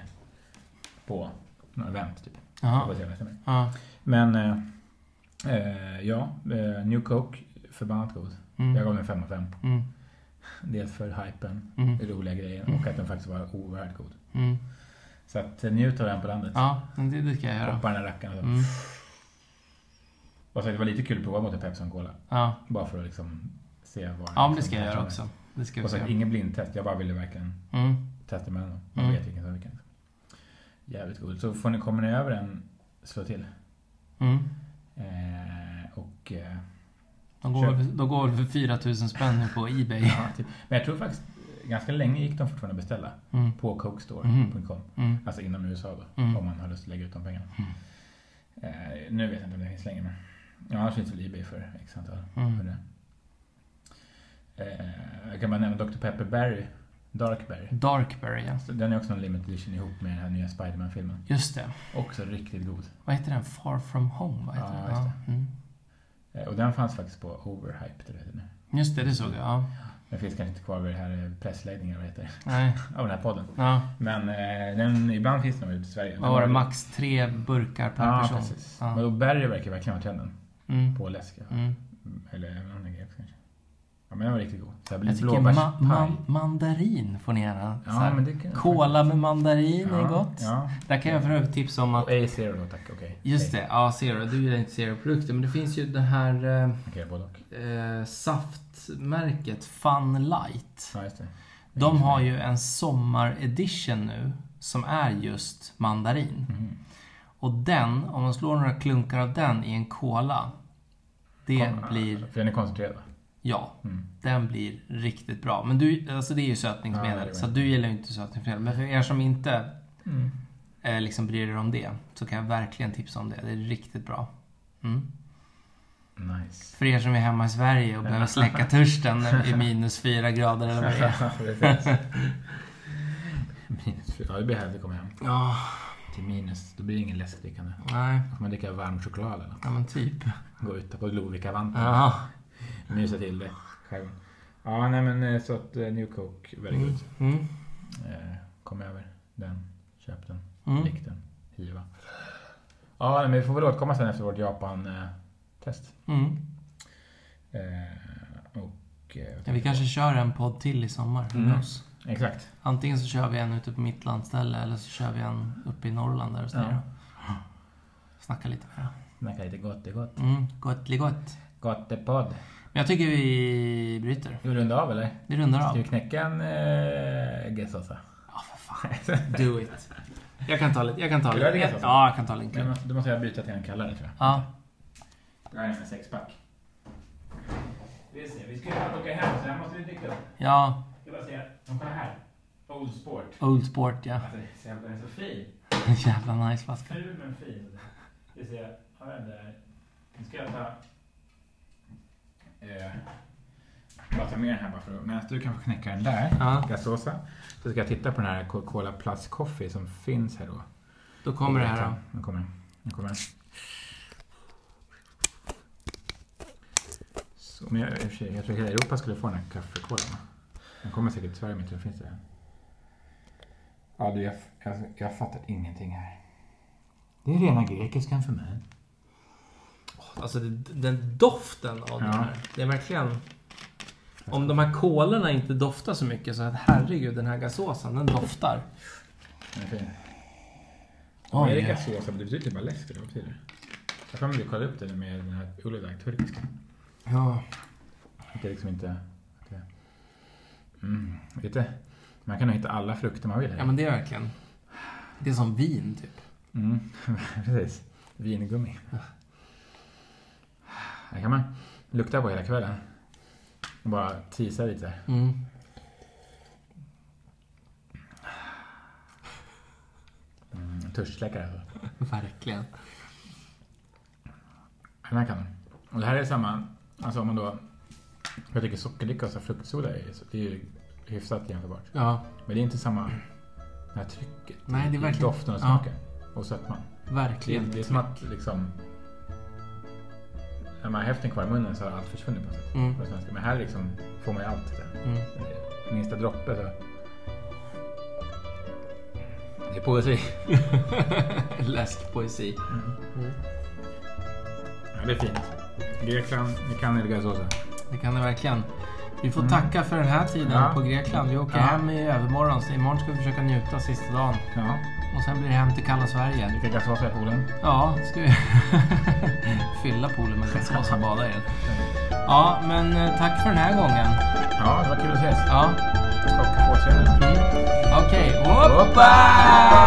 [SPEAKER 2] På några event typ. Jag
[SPEAKER 1] Jaha.
[SPEAKER 2] får se vad det stämmer.
[SPEAKER 1] Ja.
[SPEAKER 2] Men eh, eh, ja, eh, New Coke. Förbannat god. Jag
[SPEAKER 1] Mm.
[SPEAKER 2] gav den 5 av 5.
[SPEAKER 1] Mm.
[SPEAKER 2] Dels för hypen,
[SPEAKER 1] Mm.
[SPEAKER 2] roliga grejer
[SPEAKER 1] Mm.
[SPEAKER 2] och att den faktiskt var oerhört god.
[SPEAKER 1] Mm.
[SPEAKER 2] Så att eh, njut av den på landet.
[SPEAKER 1] Ja, men det, det ska jag göra.
[SPEAKER 2] Hoppa den här rackaren och så.
[SPEAKER 1] Mm.
[SPEAKER 2] Och så att det var lite kul att prova mot en Pepsi och Cola.
[SPEAKER 1] Ja.
[SPEAKER 2] Bara för att liksom se vad
[SPEAKER 1] ja, men
[SPEAKER 2] liksom
[SPEAKER 1] det ska jag
[SPEAKER 2] kanske
[SPEAKER 1] göra
[SPEAKER 2] är.
[SPEAKER 1] också. Det ska vi
[SPEAKER 2] Och så
[SPEAKER 1] se.
[SPEAKER 2] ingen blindtest. Jag bara ville verkligen
[SPEAKER 1] Mm.
[SPEAKER 2] testa mellan dem. Man
[SPEAKER 1] Mm.
[SPEAKER 2] vet vilken som är vilken. Jävligt god. Så får ni, kommer ni över en, slå till.
[SPEAKER 1] Mm.
[SPEAKER 2] Eh, och, eh,
[SPEAKER 1] De går, väl- de går väl för 4000 spänn nu på Ebay.
[SPEAKER 2] ja, typ. Men jag tror faktiskt, eh, ganska länge gick de fortfarande att beställa.
[SPEAKER 1] Mm.
[SPEAKER 2] På cokestore.com.
[SPEAKER 1] Mm.
[SPEAKER 2] Alltså inom USA då.
[SPEAKER 1] Mm.
[SPEAKER 2] Om man har lust att lägga ut de pengarna.
[SPEAKER 1] Mm.
[SPEAKER 2] Eh, nu vet jag inte om det finns längre. Men ja, annars finns väl Ebay för x antal.
[SPEAKER 1] Mm.
[SPEAKER 2] Mm. Eh, jag kan bara nämna Dr. Pepper Berry. Dark Berry.
[SPEAKER 1] Darkberry, ja.
[SPEAKER 2] Så Den är också en limited edition ihop med den här nya Spiderman-filmen.
[SPEAKER 1] Just det.
[SPEAKER 2] Också riktigt god.
[SPEAKER 1] Vad heter den? Far from home, vad heter
[SPEAKER 2] Ja,
[SPEAKER 1] den?
[SPEAKER 2] just
[SPEAKER 1] Ja. Mm.
[SPEAKER 2] Eh, Och den fanns faktiskt på Overhyped. eller hur det nu.
[SPEAKER 1] Just det, det såg jag. Ja.
[SPEAKER 2] Den finns kanske inte kvar vid det här eh, pressläggningen, vad heter det?
[SPEAKER 1] Nej.
[SPEAKER 2] Av den här podden.
[SPEAKER 1] Ja.
[SPEAKER 2] Men eh, den, ibland finns den väl ute i Sverige.
[SPEAKER 1] Vad var det? Max tre burkar per
[SPEAKER 2] Ja,
[SPEAKER 1] person?
[SPEAKER 2] precis.
[SPEAKER 1] Ja.
[SPEAKER 2] Men då Berry verkar verkligen vara trenden
[SPEAKER 1] Mm.
[SPEAKER 2] på läsk. ja.
[SPEAKER 1] Mm.
[SPEAKER 2] Eller även andra grejer kanske. Ja, men den var riktigt god. Så här
[SPEAKER 1] Jag
[SPEAKER 2] blir
[SPEAKER 1] tycker ma-
[SPEAKER 2] blåbärspaj.
[SPEAKER 1] ma- mandarin får ni gärna. så
[SPEAKER 2] Ja,
[SPEAKER 1] här.
[SPEAKER 2] men det kan
[SPEAKER 1] Cola med mandarin är
[SPEAKER 2] Ja,
[SPEAKER 1] gott.
[SPEAKER 2] Ja.
[SPEAKER 1] Där kan jag för övrigt tipsa om att...
[SPEAKER 2] Och A-Zero då tack, okej.
[SPEAKER 1] Just det, ja Zero. Du gillar inte Zero-produkter. Men det finns ju det här eh,
[SPEAKER 2] Okej, både och.
[SPEAKER 1] eh, saftmärket Fun Light.
[SPEAKER 2] Ja, just det.
[SPEAKER 1] De har ju en sommaredition nu som är just mandarin.
[SPEAKER 2] Mhm.
[SPEAKER 1] Och den, om man slår några klunkar av den i en cola. Det
[SPEAKER 2] Kom-
[SPEAKER 1] blir,
[SPEAKER 2] För den är koncentrerad va?
[SPEAKER 1] ja,
[SPEAKER 2] Mm.
[SPEAKER 1] den blir riktigt bra. Men du, alltså det är ju
[SPEAKER 2] Ja, det är
[SPEAKER 1] sötningsmedel.
[SPEAKER 2] det.
[SPEAKER 1] så du gillar ju inte sötningsmedel. Men för er som inte
[SPEAKER 2] Mm.
[SPEAKER 1] eh, liksom bryr er om det så kan jag verkligen tipsa om det. Det är riktigt bra. Mm.
[SPEAKER 2] Nice.
[SPEAKER 1] För er som är hemma i Sverige och behöver släcka törsten i minus fyra grader eller vad det är.
[SPEAKER 2] Precis. minus fyra. Ja, det blir härligt att komma hem.
[SPEAKER 1] Ja,
[SPEAKER 2] Till minus. Då blir det ingen läskdrickande.
[SPEAKER 1] nej.
[SPEAKER 2] Då får man dricka varm choklad eller något.
[SPEAKER 1] Ja men typ.
[SPEAKER 2] Gå ut på Lovikkavanten.
[SPEAKER 1] Ja.
[SPEAKER 2] Mysa till det själv. Ja, nej men eh, så att eh, New Coke, väldigt
[SPEAKER 1] Mm.
[SPEAKER 2] gott.
[SPEAKER 1] Mm.
[SPEAKER 2] Eh, kom över den. Köp den.
[SPEAKER 1] Mm.
[SPEAKER 2] Drick den. Hiva. Ja, nej, men vi får väl återkomma sen efter vårt Japan-test.
[SPEAKER 1] Mm.
[SPEAKER 2] Eh, och... Eh,
[SPEAKER 1] Ja, vi kanske kör en podd till i sommar.
[SPEAKER 2] Mm.
[SPEAKER 1] med oss.
[SPEAKER 2] Exakt.
[SPEAKER 1] Antingen så kör vi en ute på mitt landställe eller så kör vi en uppe i Norrland där hos
[SPEAKER 2] Ja.
[SPEAKER 1] dig då. Snacka lite mer.
[SPEAKER 2] Snacka lite gott, det är gott.
[SPEAKER 1] Mm, gott.
[SPEAKER 2] Gottepodd.
[SPEAKER 1] Men jag tycker vi bryter.
[SPEAKER 2] Ska vi runda av eller?
[SPEAKER 1] Vi rundar
[SPEAKER 2] Ska
[SPEAKER 1] av.
[SPEAKER 2] vi knäcka en eh, gessosa?
[SPEAKER 1] Ja, för fan. Do it. Jag kan ta lite. Jag kan ta
[SPEAKER 2] Vill du ha
[SPEAKER 1] lite.
[SPEAKER 2] det?
[SPEAKER 1] Ja, jag kan ta lite.
[SPEAKER 2] Men
[SPEAKER 1] till.
[SPEAKER 2] måste- Då måste jag byta till en kallare tror jag.
[SPEAKER 1] Ja.
[SPEAKER 2] Det här är en sexpack. Vi ser, vi ska ju snart åka hem så här måste vi dricka upp.
[SPEAKER 1] Ja,
[SPEAKER 2] Jag ska bara säga, de kollar här. Old Sport.
[SPEAKER 1] Old Sport ja.
[SPEAKER 2] Alltså det är så jävla- den är så fin.
[SPEAKER 1] Jävla nice flaska.
[SPEAKER 2] Ful men fin. Vi ser, har den där. Nu ska jag ta... Eh, bara ta med den här bara för att... Medan du kan få knäcka den där.
[SPEAKER 1] Ja,
[SPEAKER 2] Gassosa. Så ska jag titta på den här Coca-Cola Plus Coffee som finns här då.
[SPEAKER 1] då kommer det här då.
[SPEAKER 2] Nu kommer den. Nu kommer den. Så, men jag, i och för sig, jag tror hela Europa skulle få den här kaffekolan. Den kommer säkert till Sverige men jag tror det finns det. Ja du, jag, jag, jag fattar ingenting här. Det är rena grekiskan för mig.
[SPEAKER 1] Alltså det, den doften av den
[SPEAKER 2] Ja.
[SPEAKER 1] här. Det är verkligen... Om de här kolorna inte doftar så mycket så att herregud den här gasåsen den doftar.
[SPEAKER 2] Den är fin.
[SPEAKER 1] Oj.
[SPEAKER 2] är det gassosa? Det betyder ju bara läsk eller vad betyder det? Jag får mig kolla upp det med den här Uludagh turkiska.
[SPEAKER 1] Ja.
[SPEAKER 2] Att Det är liksom inte... att det- Mm, lite. Man kan nog hitta alla frukter man vill här.
[SPEAKER 1] ja men det är verkligen. Det är som vin typ.
[SPEAKER 2] Mm, precis. Vingummi. Här kan man lukta på hela kvällen. Och bara tisa lite. där.
[SPEAKER 1] Mm.
[SPEAKER 2] Mm, Törstsläckare. alltså.
[SPEAKER 1] Verkligen.
[SPEAKER 2] Den här kan man. Och det här är samma... Alltså om man då... Jag tycker sockerdricka och så här fruktsoda är, så det är ju hyfsat jämförbart.
[SPEAKER 1] Ja,
[SPEAKER 2] Men det är inte samma... Det här trycket.
[SPEAKER 1] Nej, det är
[SPEAKER 2] i
[SPEAKER 1] verkligen-
[SPEAKER 2] Doften
[SPEAKER 1] ja.
[SPEAKER 2] och smaken. Och sötman. Det är,
[SPEAKER 1] verkligen.
[SPEAKER 2] det är som att liksom... När man har hälften kvar i munnen så har allt försvunnit på något sätt.
[SPEAKER 1] Mm.
[SPEAKER 2] På svenska. Men här liksom får man ju allt. Där.
[SPEAKER 1] Mm.
[SPEAKER 2] minsta droppe så. Det är poesi.
[SPEAKER 1] Läsk poesi. Mm.
[SPEAKER 2] Ja, det är fint. Grekland, ni kan elga såsa.
[SPEAKER 1] Det kan det verkligen. Vi får tacka för den här tiden
[SPEAKER 2] Mm. Ja.
[SPEAKER 1] på Grekland. Vi åker
[SPEAKER 2] Ja.
[SPEAKER 1] hem i övermorgon så imorgon ska vi försöka njuta sista dagen.
[SPEAKER 2] Ja,
[SPEAKER 1] Och sen blir det hem till kalla Sverige.
[SPEAKER 2] dricka gasåsa i poolen.
[SPEAKER 1] Ja, ska vi fylla poolen med gasgas och bada i den. Ja, men eh, tack för den här gången.
[SPEAKER 2] Ja, det var kul att ses.
[SPEAKER 1] Ja.
[SPEAKER 2] Och på återseende.
[SPEAKER 1] Mm. Okej, okay.
[SPEAKER 2] Hoppa!